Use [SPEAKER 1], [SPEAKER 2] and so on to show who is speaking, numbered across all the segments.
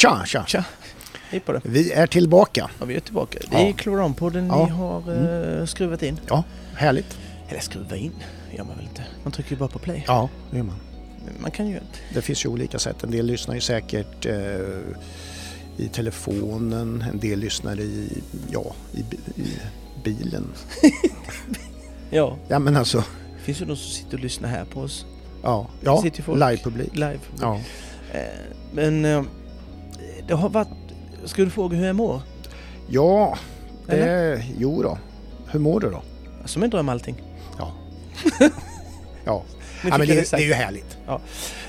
[SPEAKER 1] Tja, tja.
[SPEAKER 2] Tja! Hej på det.
[SPEAKER 1] Vi är tillbaka.
[SPEAKER 2] Ja, vi är tillbaka. Det är
[SPEAKER 1] Ja.
[SPEAKER 2] Kloranpodden
[SPEAKER 1] Ja. Mm.
[SPEAKER 2] ni har eh, skruvat in.
[SPEAKER 1] Ja, härligt.
[SPEAKER 2] Eller skruva in, gör man väl inte? Man trycker ju bara på play.
[SPEAKER 1] Ja, det är man.
[SPEAKER 2] Man kan ju...
[SPEAKER 1] Det finns ju olika sätt. En del lyssnar ju säkert eh, i telefonen, en del lyssnar i, ja, i, bi- i bilen.
[SPEAKER 2] Ja,
[SPEAKER 1] Ja, men alltså,
[SPEAKER 2] det finns ju de som sitter och lyssnar här på oss
[SPEAKER 1] ja, ja
[SPEAKER 2] Sitter ju folk-
[SPEAKER 1] livepublik.
[SPEAKER 2] live.
[SPEAKER 1] Ja.
[SPEAKER 2] Eh, men eh, det har varit... Ska du fråga hur jag mår?
[SPEAKER 1] ja, det, jo då. Hur mår du då?
[SPEAKER 2] Alltså, Som en dröm allting.
[SPEAKER 1] Ja. ja.
[SPEAKER 2] Nu
[SPEAKER 1] ja
[SPEAKER 2] fick
[SPEAKER 1] men
[SPEAKER 2] jag
[SPEAKER 1] det, det
[SPEAKER 2] sagt.
[SPEAKER 1] är ju härligt.
[SPEAKER 2] Ja. Eh.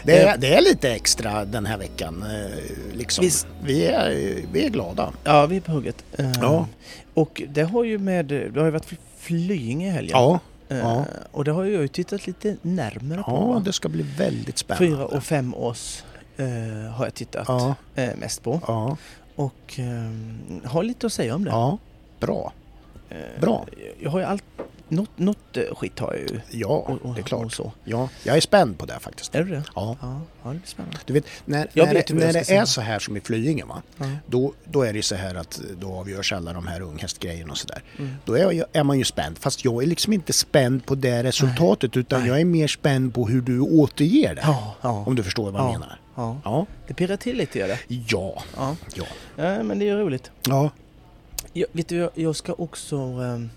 [SPEAKER 1] Det, är, det är lite extra den här veckan. eh, Liksom.
[SPEAKER 2] Visst.
[SPEAKER 1] Vi, är, vi är glada.
[SPEAKER 2] Ja, vi är på hugget. Eh,
[SPEAKER 1] Ja.
[SPEAKER 2] Och det har ju med... Det har ju varit Flyinge i helgen.
[SPEAKER 1] Ja,
[SPEAKER 2] Eh,
[SPEAKER 1] ja.
[SPEAKER 2] Och det har jag ju tittat lite närmare på. va?
[SPEAKER 1] ja det ska bli väldigt spännande.
[SPEAKER 2] Fyra och fem års eh, har jag tittat
[SPEAKER 1] Ja,
[SPEAKER 2] eh, mest på.
[SPEAKER 1] ja,
[SPEAKER 2] Och eh, har lite att säga om det.
[SPEAKER 1] ja. Bra.
[SPEAKER 2] Eh,
[SPEAKER 1] Bra.
[SPEAKER 2] Jag har ju allt, något, något eh, skit har jag ju.
[SPEAKER 1] Ja,
[SPEAKER 2] Och, och,
[SPEAKER 1] det är
[SPEAKER 2] Och
[SPEAKER 1] klart.
[SPEAKER 2] så.
[SPEAKER 1] Ja, jag är spänd på det faktiskt.
[SPEAKER 2] Är du det?
[SPEAKER 1] Ja.
[SPEAKER 2] Ja, ja det blir spännande.
[SPEAKER 1] Du vet, när,
[SPEAKER 2] Jag
[SPEAKER 1] när,
[SPEAKER 2] vet
[SPEAKER 1] det,
[SPEAKER 2] hur jag
[SPEAKER 1] när
[SPEAKER 2] ska
[SPEAKER 1] det
[SPEAKER 2] säga.
[SPEAKER 1] är så här som i Flyinge, va?
[SPEAKER 2] Ja.
[SPEAKER 1] Då, då är det så här att eh, då avgörs alla de här unghästgrejerna och sådär.
[SPEAKER 2] Mm.
[SPEAKER 1] Då är, jag, är man ju spänd, fast jag är liksom inte spänd på det resultatet utan
[SPEAKER 2] Nej.
[SPEAKER 1] jag är mer spänd på hur du återger det.
[SPEAKER 2] Ja, ja,
[SPEAKER 1] Om du förstår vad jag
[SPEAKER 2] Ja.
[SPEAKER 1] menar.
[SPEAKER 2] ja.
[SPEAKER 1] Ja.
[SPEAKER 2] Det pirrar till lite gör det.
[SPEAKER 1] Ja.
[SPEAKER 2] Ja.
[SPEAKER 1] Ja.
[SPEAKER 2] ja, men det är ju roligt.
[SPEAKER 1] Ja.
[SPEAKER 2] Jag, vet du, jag, jag ska också... ehm,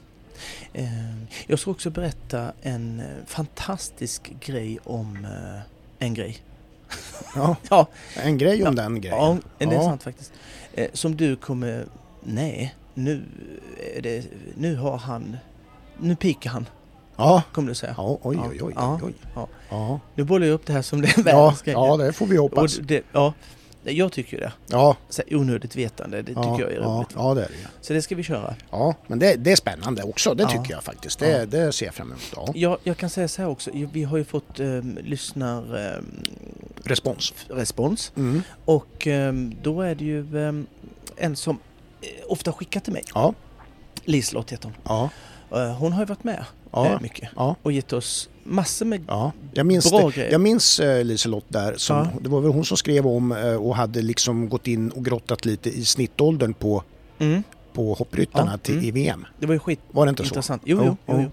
[SPEAKER 2] ehm, jag ska också berätta en eh, fantastisk grej om eh, en grej.
[SPEAKER 1] ja.
[SPEAKER 2] Ja,
[SPEAKER 1] En grej om den grejen.
[SPEAKER 2] Ja, det är
[SPEAKER 1] Ja.
[SPEAKER 2] sant faktiskt. Eh, Som du kommer... Nej, nu, är det, nu har han... Nu pikar han,
[SPEAKER 1] Ja.
[SPEAKER 2] kommer du säga.
[SPEAKER 1] ja. Oj, oj, oj.
[SPEAKER 2] Ja.
[SPEAKER 1] oj, oj.
[SPEAKER 2] Ja.
[SPEAKER 1] Ja.
[SPEAKER 2] Nu bollar jag upp det här som det är
[SPEAKER 1] Ja.
[SPEAKER 2] världens grej.
[SPEAKER 1] ja, det får vi
[SPEAKER 2] Och
[SPEAKER 1] hoppas.
[SPEAKER 2] det, ja, jag tycker ju det.
[SPEAKER 1] Ja.
[SPEAKER 2] Så här, onödigt vetande, det
[SPEAKER 1] Ja,
[SPEAKER 2] tycker jag är
[SPEAKER 1] ja,
[SPEAKER 2] roligt.
[SPEAKER 1] ja, det är det. ju.
[SPEAKER 2] Så det ska vi köra.
[SPEAKER 1] Ja, men det, det är spännande också, det
[SPEAKER 2] Ja.
[SPEAKER 1] tycker jag faktiskt. Det,
[SPEAKER 2] Ja.
[SPEAKER 1] det ser jag fram emot. Ja.
[SPEAKER 2] Jag, jag kan säga så här också, vi har ju fått um, lyssnarrespons.
[SPEAKER 1] Respons. Mm.
[SPEAKER 2] och ehm, då är det ju ehm, en som eh, ofta skickar till mig.
[SPEAKER 1] Ja,
[SPEAKER 2] Liselott heter hon.
[SPEAKER 1] ja,
[SPEAKER 2] Eh, hon har ju varit med
[SPEAKER 1] ja,
[SPEAKER 2] eh, mycket.
[SPEAKER 1] ja.
[SPEAKER 2] och gett oss massor med...
[SPEAKER 1] ja. Jag minns,
[SPEAKER 2] Bra
[SPEAKER 1] det.
[SPEAKER 2] grejer.
[SPEAKER 1] jag minns eh, Liselott där, som,
[SPEAKER 2] Ja.
[SPEAKER 1] det var väl hon som skrev om eh, och hade liksom gått in och grottat lite i snittåldern på,
[SPEAKER 2] Mm.
[SPEAKER 1] på hoppryttarna
[SPEAKER 2] Ja,
[SPEAKER 1] till,
[SPEAKER 2] mm.
[SPEAKER 1] i VM.
[SPEAKER 2] Det var ju skit
[SPEAKER 1] Var det inte så?
[SPEAKER 2] intressant. Jo,
[SPEAKER 1] Ja,
[SPEAKER 2] jo, jo.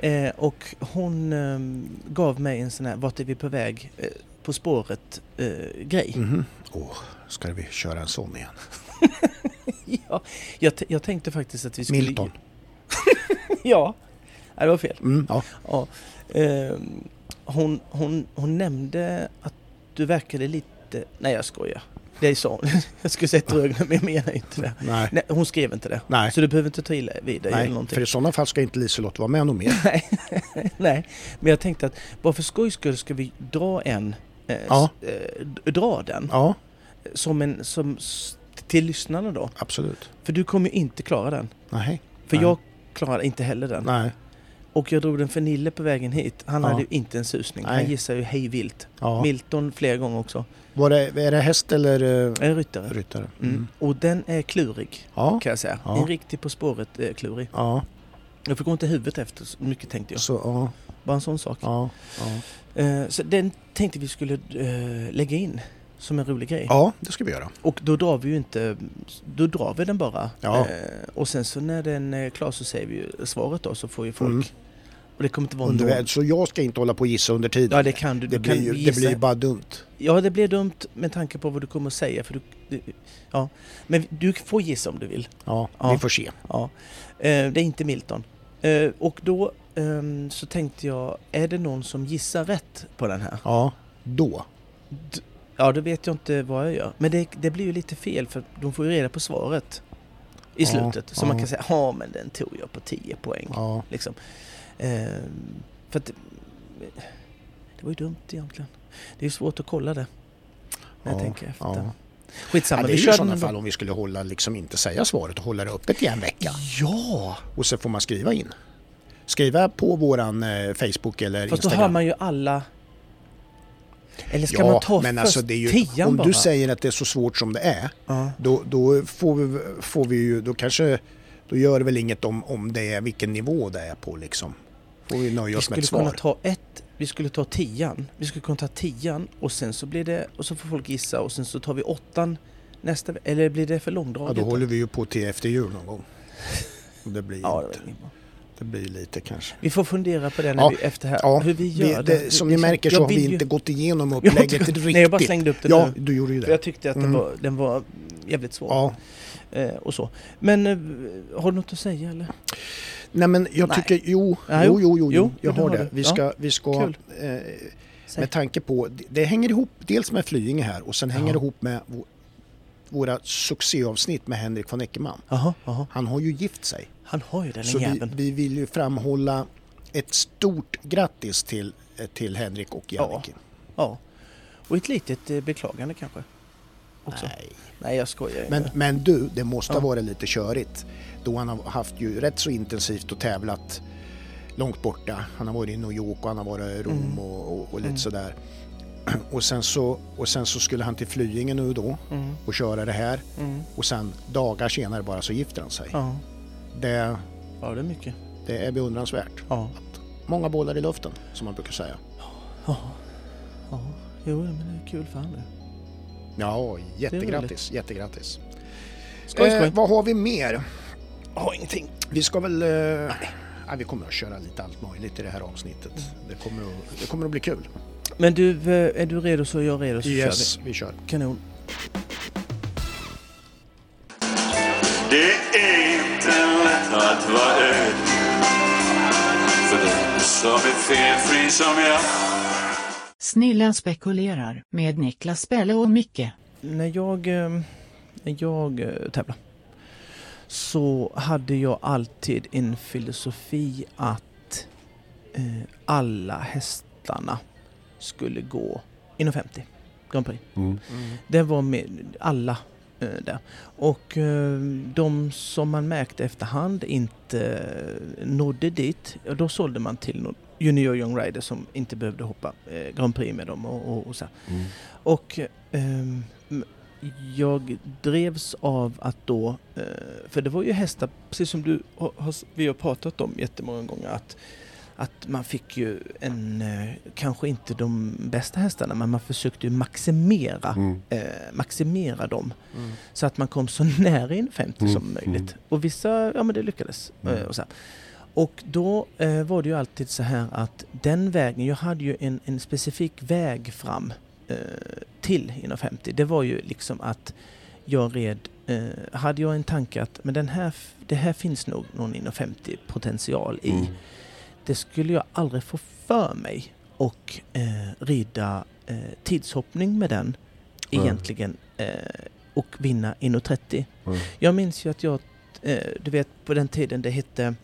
[SPEAKER 1] ja.
[SPEAKER 2] jo. Eh, och hon ehm, gav mig en sån här Vart är vi på väg? Eh, på eh, spåret-grej.
[SPEAKER 1] Mhm. Åh, ska vi köra en sån igen?
[SPEAKER 2] ja, jag, t- jag tänkte faktiskt att vi skulle...
[SPEAKER 1] Milton.
[SPEAKER 2] ja. Nej, det var fel.
[SPEAKER 1] Mm, ja.
[SPEAKER 2] Ja. Ehm, hon, hon, hon nämnde att du verkade lite... Nej, jag skojar. Det sa hon. jag skulle säga trögna, men jag menar inte det.
[SPEAKER 1] Nej.
[SPEAKER 2] Nej, hon skrev inte det.
[SPEAKER 1] Nej.
[SPEAKER 2] Så du behöver inte ta illa vid dig eller
[SPEAKER 1] Nej,
[SPEAKER 2] någonting.
[SPEAKER 1] för i sådana fall ska inte Liselott vara med något mer.
[SPEAKER 2] Nej, nej, men jag tänkte att bara för skojs skull ska vi dra en, eh, s-
[SPEAKER 1] Ja.
[SPEAKER 2] eh, d- dra den,
[SPEAKER 1] Ja,
[SPEAKER 2] som en, som, s- till lyssnarna då.
[SPEAKER 1] absolut.
[SPEAKER 2] För du kommer ju inte klara den.
[SPEAKER 1] Nej.
[SPEAKER 2] För
[SPEAKER 1] Nej.
[SPEAKER 2] jag klarar inte heller den.
[SPEAKER 1] Nej.
[SPEAKER 2] Och jag drog den för Nille på vägen hit. Han
[SPEAKER 1] Ja.
[SPEAKER 2] hade ju inte en susning. Han
[SPEAKER 1] Nej.
[SPEAKER 2] gissar ju hej vilt.
[SPEAKER 1] Ja.
[SPEAKER 2] Milton flera gånger också.
[SPEAKER 1] Var det, är det häst eller eh,
[SPEAKER 2] Jag är ryttare.
[SPEAKER 1] ryttare?
[SPEAKER 2] Mm.
[SPEAKER 1] Mm.
[SPEAKER 2] Och den är klurig,
[SPEAKER 1] Ja.
[SPEAKER 2] kan jag säga.
[SPEAKER 1] Ja.
[SPEAKER 2] En riktig På spåret-klurig.
[SPEAKER 1] Ja,
[SPEAKER 2] jag fick inte huvudet efter så mycket tänkte jag.
[SPEAKER 1] så ja,
[SPEAKER 2] Bara en sån sak.
[SPEAKER 1] ja, ja.
[SPEAKER 2] Eh, Så den tänkte vi skulle eh, lägga in som en rolig grej.
[SPEAKER 1] ja, det ska vi göra.
[SPEAKER 2] Och då drar vi ju inte, då drar vi den bara.
[SPEAKER 1] Ja.
[SPEAKER 2] Eh, Och sen så när den är klar så säger vi ju svaret då så får ju folk.
[SPEAKER 1] Mm.
[SPEAKER 2] Och det kommer inte vara någon.
[SPEAKER 1] Under, så jag ska inte hålla på och gissa under tiden.
[SPEAKER 2] Ja det kan du.
[SPEAKER 1] det,
[SPEAKER 2] du kan
[SPEAKER 1] blir, ju, det
[SPEAKER 2] gissa.
[SPEAKER 1] blir bara dumt.
[SPEAKER 2] Ja det blir dumt med tanke på vad du kommer att säga. För du, du, ja. Men du får gissa om du vill.
[SPEAKER 1] Ja,
[SPEAKER 2] Ja.
[SPEAKER 1] vi får se.
[SPEAKER 2] Ja. Eh, Det är inte Milton. Eh, Och då ehm, så tänkte jag, är det någon som gissar rätt på den här?
[SPEAKER 1] Ja, då.
[SPEAKER 2] D- Ja, då vet jag inte vad jag gör. Men det, det blir ju lite fel för de får ju reda på svaret i
[SPEAKER 1] Ja,
[SPEAKER 2] slutet. Så
[SPEAKER 1] ja.
[SPEAKER 2] man kan säga, ja men den tog jag på 10 poäng.
[SPEAKER 1] Ja,
[SPEAKER 2] Liksom. Ehm, för att, det var ju dumt egentligen. Det är ju svårt att kolla det. När jag
[SPEAKER 1] Ja,
[SPEAKER 2] tänker efter.
[SPEAKER 1] ja.
[SPEAKER 2] Skitsamma,
[SPEAKER 1] ja, det är
[SPEAKER 2] vi
[SPEAKER 1] ju
[SPEAKER 2] kör
[SPEAKER 1] i
[SPEAKER 2] den
[SPEAKER 1] sådana
[SPEAKER 2] ändå.
[SPEAKER 1] fall om vi skulle hålla, liksom inte säga svaret och hålla det öppet i en vecka.
[SPEAKER 2] Ja!
[SPEAKER 1] Och så får man skriva in. Skriva på våran eh, Facebook eller
[SPEAKER 2] Fast då
[SPEAKER 1] Instagram.
[SPEAKER 2] har man ju alla... Eller ska man ta först
[SPEAKER 1] alltså, det är ju,
[SPEAKER 2] tian
[SPEAKER 1] Om
[SPEAKER 2] bara?
[SPEAKER 1] du säger att det är så svårt som det är,
[SPEAKER 2] Ja.
[SPEAKER 1] då, då får, vi, får vi ju, då kanske, då gör det väl inget om, om det är vilken nivå det är på liksom. Får vi nöja
[SPEAKER 2] Vi
[SPEAKER 1] oss med
[SPEAKER 2] skulle
[SPEAKER 1] ett
[SPEAKER 2] kunna
[SPEAKER 1] svar.
[SPEAKER 2] ta ett, vi skulle ta tian. Vi skulle kunna ta tian och sen så blir det, och så får folk gissa och sen så tar vi åttan Nästa ve- Eller blir det för långdraget?
[SPEAKER 1] Ja, då håller vi ju på till efter jul någon gång. Och Det blir,
[SPEAKER 2] Ja, det var
[SPEAKER 1] inte,
[SPEAKER 2] ingen bra.
[SPEAKER 1] det blir lite kanske.
[SPEAKER 2] Vi får fundera på det när
[SPEAKER 1] Ja,
[SPEAKER 2] vi, efter här,
[SPEAKER 1] ja,
[SPEAKER 2] hur vi
[SPEAKER 1] Vi,
[SPEAKER 2] gör det.
[SPEAKER 1] det, som ni märker så har vi inte gått igenom upplägget riktigt.
[SPEAKER 2] Nej, jag bara slängde upp det
[SPEAKER 1] ja,
[SPEAKER 2] nu.
[SPEAKER 1] du gjorde ju
[SPEAKER 2] För
[SPEAKER 1] det.
[SPEAKER 2] jag tyckte att den,
[SPEAKER 1] Mm.
[SPEAKER 2] var, den var jävligt svår.
[SPEAKER 1] Ja.
[SPEAKER 2] Eh, och så. Men eh, har du något att säga eller?
[SPEAKER 1] Nej, men jag
[SPEAKER 2] Nej.
[SPEAKER 1] tycker, jo,
[SPEAKER 2] Ja,
[SPEAKER 1] jo, jo, jo,
[SPEAKER 2] Jo,
[SPEAKER 1] jo, jag
[SPEAKER 2] det
[SPEAKER 1] har
[SPEAKER 2] har
[SPEAKER 1] det.
[SPEAKER 2] du.
[SPEAKER 1] Vi
[SPEAKER 2] Ja.
[SPEAKER 1] ska, vi ska
[SPEAKER 2] Kul.
[SPEAKER 1] eh,
[SPEAKER 2] Säg.
[SPEAKER 1] Med tanke på, det- det hänger ihop dels med Flyinge här och sen
[SPEAKER 2] Ja.
[SPEAKER 1] hänger det ihop med vå- våra succéavsnitt med Henrik von Eckermann.
[SPEAKER 2] Jaha, jaha.
[SPEAKER 1] Han har ju gift sig.
[SPEAKER 2] Han har ju den
[SPEAKER 1] Så vi,
[SPEAKER 2] jäveln.
[SPEAKER 1] vi vill ju framhålla ett stort grattis till, eh, till Henrik och
[SPEAKER 2] Ja,
[SPEAKER 1] Jannike.
[SPEAKER 2] Ja. Och ett litet eh, beklagande kanske. Också. Nej.
[SPEAKER 1] Nej.
[SPEAKER 2] jag skojar. ju.
[SPEAKER 1] Men, men du, det måste ha
[SPEAKER 2] Ja.
[SPEAKER 1] varit lite körigt. Då han har haft ju rätt så intensivt och tävlat långt borta. Han har varit i New York och han har varit i Rom
[SPEAKER 2] Mm.
[SPEAKER 1] och, och, och lite
[SPEAKER 2] Mm.
[SPEAKER 1] sådär. Och sen, så, och sen så skulle han till Flyinge nu då
[SPEAKER 2] Mm,
[SPEAKER 1] och köra det här.
[SPEAKER 2] mm.
[SPEAKER 1] Och sen dagar senare bara så gifter han sig.
[SPEAKER 2] Ja.
[SPEAKER 1] Det,
[SPEAKER 2] ja, det är mycket.
[SPEAKER 1] det är beundransvärt.
[SPEAKER 2] Ja.
[SPEAKER 1] Många bollar i luften som man brukar säga.
[SPEAKER 2] Ja. ja. Jo, men det är kul för han nu.
[SPEAKER 1] Ja,
[SPEAKER 2] roligt.
[SPEAKER 1] jättegrattis, jättegrattis.
[SPEAKER 2] Skoj, skoj.
[SPEAKER 1] Eh, vad har vi mer?
[SPEAKER 2] Har ingenting.
[SPEAKER 1] Vi ska väl... Eh, nej, vi kommer att köra lite allt möjligt i det här avsnittet. Det, kommer att, det kommer att bli kul.
[SPEAKER 2] Men du, eh, är du redo så är jag redo så
[SPEAKER 1] Yes,
[SPEAKER 2] kör
[SPEAKER 1] vi kör.
[SPEAKER 2] vi. Kanon.
[SPEAKER 3] Det är inte lätt att vara öd För den som är felfri som jag
[SPEAKER 4] Snillen spekulerar med Niklas Pelle och Micke.
[SPEAKER 2] När jag, eh, när jag eh, tävlade så hade jag alltid en filosofi att eh, alla hästarna skulle gå inom 50 Grand Prix.
[SPEAKER 5] Mm.
[SPEAKER 2] Det var med alla eh, där. Och eh, de som man märkte efterhand inte eh, nådde dit, ja, då sålde man till någon junior young rider som inte behövde hoppa eh, Grand Prix med dem och, och, och så. här. Och ehm, m- jag drevs av att då, eh, för det var ju hästar, precis som du har, har, s- vi har pratat om jättemånga gånger, att, att man fick ju en, eh, kanske inte de bästa hästarna, men man försökte ju maximera,
[SPEAKER 5] Mm.
[SPEAKER 2] eh, maximera dem. Så att man kom så nära in 50 som möjligt. Och vissa, ja men det lyckades. eh, Och, så här. och då eh, var det ju alltid så här att den vägen, jag hade ju en, en specifik väg fram eh, till inom 50. Det var ju liksom att jag red, eh, hade jag en tanke att men den här, f- det här finns nog någon inom 50 potential i.
[SPEAKER 1] Mm.
[SPEAKER 5] Mm.
[SPEAKER 2] Det skulle jag aldrig få för mig och eh, rida eh, tidshoppning med den egentligen eh, och vinna inom 30. Jag minns ju att jag, eh, du vet på den tiden det hette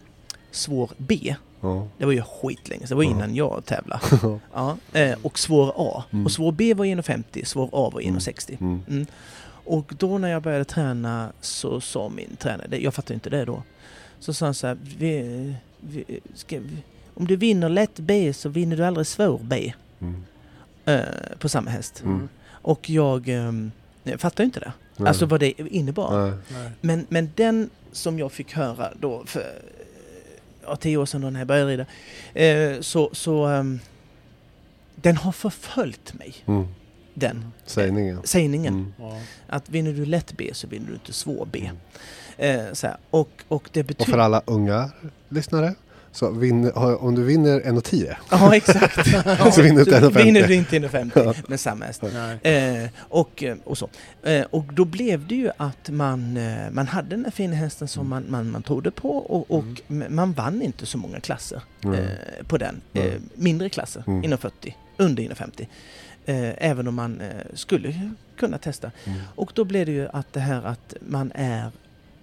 [SPEAKER 2] svår B. Det var ju skitlänge så det var innan jag tävlade. ja, eh, och svår A. Och svår B var 1,50, svår A var 1,60. Mm. Och då när jag började träna så sa min tränare, det- jag fattade inte det då, så sa han så här, vi, vi, ska, vi, om du vinner lätt B så vinner du aldrig svår B. Eh, på samma häst.
[SPEAKER 5] Mm.
[SPEAKER 1] Mm.
[SPEAKER 2] Och jag ehm, jag fattar ju inte det. Alltså vad det innebar.
[SPEAKER 5] Mm.
[SPEAKER 2] Men, men den som jag fick höra då för eh, ja, tio år sedan då när jag började rida, eh, så, så ehm, den har förföljt mig,
[SPEAKER 5] Mm.
[SPEAKER 2] den
[SPEAKER 5] Sägningen.
[SPEAKER 2] sägningen.
[SPEAKER 5] Mm.
[SPEAKER 2] Att vinner du lätt B så vinner du inte svår B. Eh, så här. Och, och det
[SPEAKER 5] Mm. Och för
[SPEAKER 2] betyder...
[SPEAKER 5] alla unga lyssnare, så vin, har- om du vinner 1,10
[SPEAKER 2] Ja, exakt.
[SPEAKER 5] så vinner du inte 1,50.
[SPEAKER 2] vinner du inte inom 50 med samma häst.
[SPEAKER 5] Mm.
[SPEAKER 1] Nej.
[SPEAKER 2] Eh, och, eh, och, så. Eh, och då blev det ju att man, eh, man hade den där fina hästen
[SPEAKER 5] Mm.
[SPEAKER 2] som man, man, man trodde på och, och m- man vann inte så många klasser
[SPEAKER 5] Mm.
[SPEAKER 2] eh, på den.
[SPEAKER 5] Mm.
[SPEAKER 2] Eh, mindre klasser,
[SPEAKER 5] Mm.
[SPEAKER 2] inom 40, under inom 50. Eh, även om man eh, skulle ju kunna testa.
[SPEAKER 5] Mm.
[SPEAKER 2] Och då blev det ju att det här att man är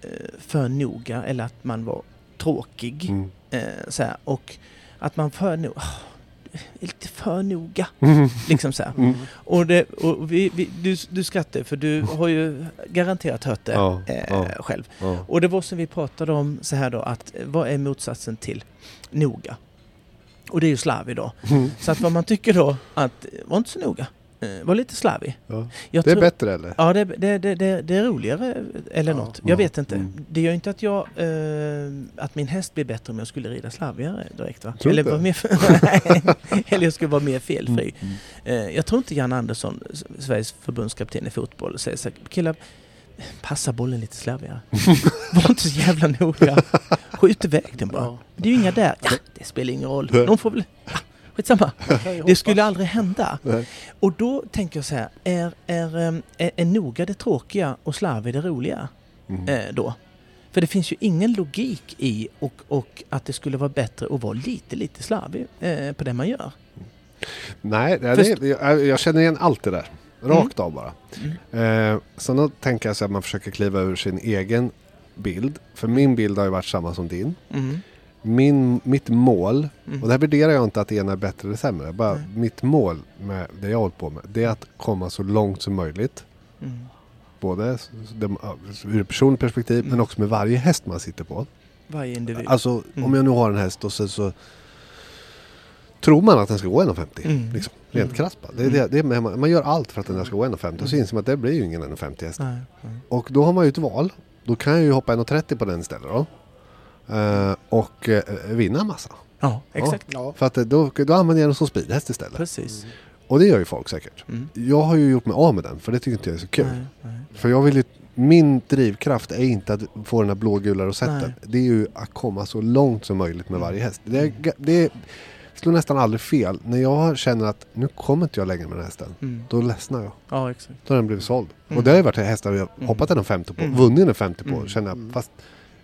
[SPEAKER 2] eh, för noga eller att man var tråkig.
[SPEAKER 5] Mm.
[SPEAKER 2] Eh, så här, och att man för no- ah, är lite för noga. Liksom så här.
[SPEAKER 5] Mm.
[SPEAKER 2] Och, det, och vi, vi, du, du skrattar för du har ju garanterat hört det
[SPEAKER 5] Mm. Ja,
[SPEAKER 2] eh,
[SPEAKER 5] ja.
[SPEAKER 2] själv.
[SPEAKER 5] Ja.
[SPEAKER 2] Och det var som vi pratade om så här då att eh, vad är motsatsen till noga? Och det är ju slarvig då. Så att vad man tycker då att eh, var inte så noga. Eh, Eh, var lite slarvig.
[SPEAKER 5] Ja.
[SPEAKER 2] Jag
[SPEAKER 5] Det är
[SPEAKER 2] tror-
[SPEAKER 5] bättre eller?
[SPEAKER 2] Ja, det, det, det, det, det är roligare eh, eller
[SPEAKER 5] Ja.
[SPEAKER 2] något. Jag vet inte.
[SPEAKER 6] Mm.
[SPEAKER 2] Det gör inte att jag... Eh, att min häst blir bättre om jag skulle rida slarvigare direkt va?
[SPEAKER 5] Tror
[SPEAKER 2] eller,
[SPEAKER 5] inte.
[SPEAKER 2] vara mer, Nej. eller jag skulle vara mer felfri.
[SPEAKER 6] Mm. Mm.
[SPEAKER 2] Eh, jag tror inte Jan Andersson, S- Sveriges förbundskapten i fotboll, säger så här, killar, passa bollen lite slarvigare. Var inte så jävla noga. Skjut iväg den bara. Det är ju inga där. Ja, det spelar ingen roll. Någon får väl... Ja, skitsamma. Det skulle aldrig hända.
[SPEAKER 5] Nej.
[SPEAKER 2] Och då tänker jag så här, är, är, em, är, är noga det tråkiga och slarvig det roliga?
[SPEAKER 5] Mm.
[SPEAKER 2] Eh, då? För det finns ju ingen logik i och, och att det skulle vara bättre att vara lite, lite slarvig eh, på det man gör.
[SPEAKER 5] Nej, det,
[SPEAKER 2] Först- Mm.
[SPEAKER 5] det, jag, jag känner igen allt det där. Rakt av bara. Eh, sen då tänker jag så att man försöker kliva ur sin egen bild. För min bild har ju varit samma som din.
[SPEAKER 2] Mm.
[SPEAKER 5] Min, mitt mål,
[SPEAKER 2] Mm.
[SPEAKER 5] och där värderar jag inte att det ena är bättre eller sämre. Bara
[SPEAKER 2] Nej.
[SPEAKER 5] mitt mål med det jag håller på med, det är att komma så långt som möjligt.
[SPEAKER 2] Mm.
[SPEAKER 5] Både s- de, ur ett personligt perspektiv men också med varje häst man sitter på.
[SPEAKER 2] Varje individ.
[SPEAKER 5] Alltså
[SPEAKER 2] Mm.
[SPEAKER 5] om jag nu har en häst och sen så tror man att den ska gå 1,50.
[SPEAKER 2] Mm. Mm.
[SPEAKER 5] Liksom, rent krasst bara. det, det, det, man, man gör allt för att den här ska gå 1,50 och så inser man att det blir ju ingen 1,50 häst.
[SPEAKER 2] Nej, nej.
[SPEAKER 5] Och då har man ju ett val. Då kan jag ju hoppa 1,30 på den istället då. Eh, och eh, vinna en massa.
[SPEAKER 2] Ja, exakt.
[SPEAKER 1] Ja.
[SPEAKER 5] För att eh, då, då använder jag den som speedhäst istället.
[SPEAKER 2] Precis.
[SPEAKER 5] Och det gör ju folk säkert.
[SPEAKER 2] Mm.
[SPEAKER 5] Jag har ju gjort mig av med den för det tycker inte jag är så kul.
[SPEAKER 2] Nej, nej.
[SPEAKER 5] För jag vill ju, min drivkraft är inte att få den här blågula rosetten.
[SPEAKER 2] Nej.
[SPEAKER 5] Det är ju att komma så långt som möjligt med varje häst. Det,
[SPEAKER 2] Mm.
[SPEAKER 5] är- det slår nästan aldrig fel. När jag känner att nu kommer inte jag längre med den hästen.
[SPEAKER 2] Mm.
[SPEAKER 5] Då ledsnar jag.
[SPEAKER 2] Ja, exakt.
[SPEAKER 5] Då har den blivit såld.
[SPEAKER 2] Mm.
[SPEAKER 5] Och det har ju varit hästar jag hoppat en 50 på,
[SPEAKER 2] Mm.
[SPEAKER 5] vunnit en 50 på.
[SPEAKER 2] Mm.
[SPEAKER 5] Känner jag, fast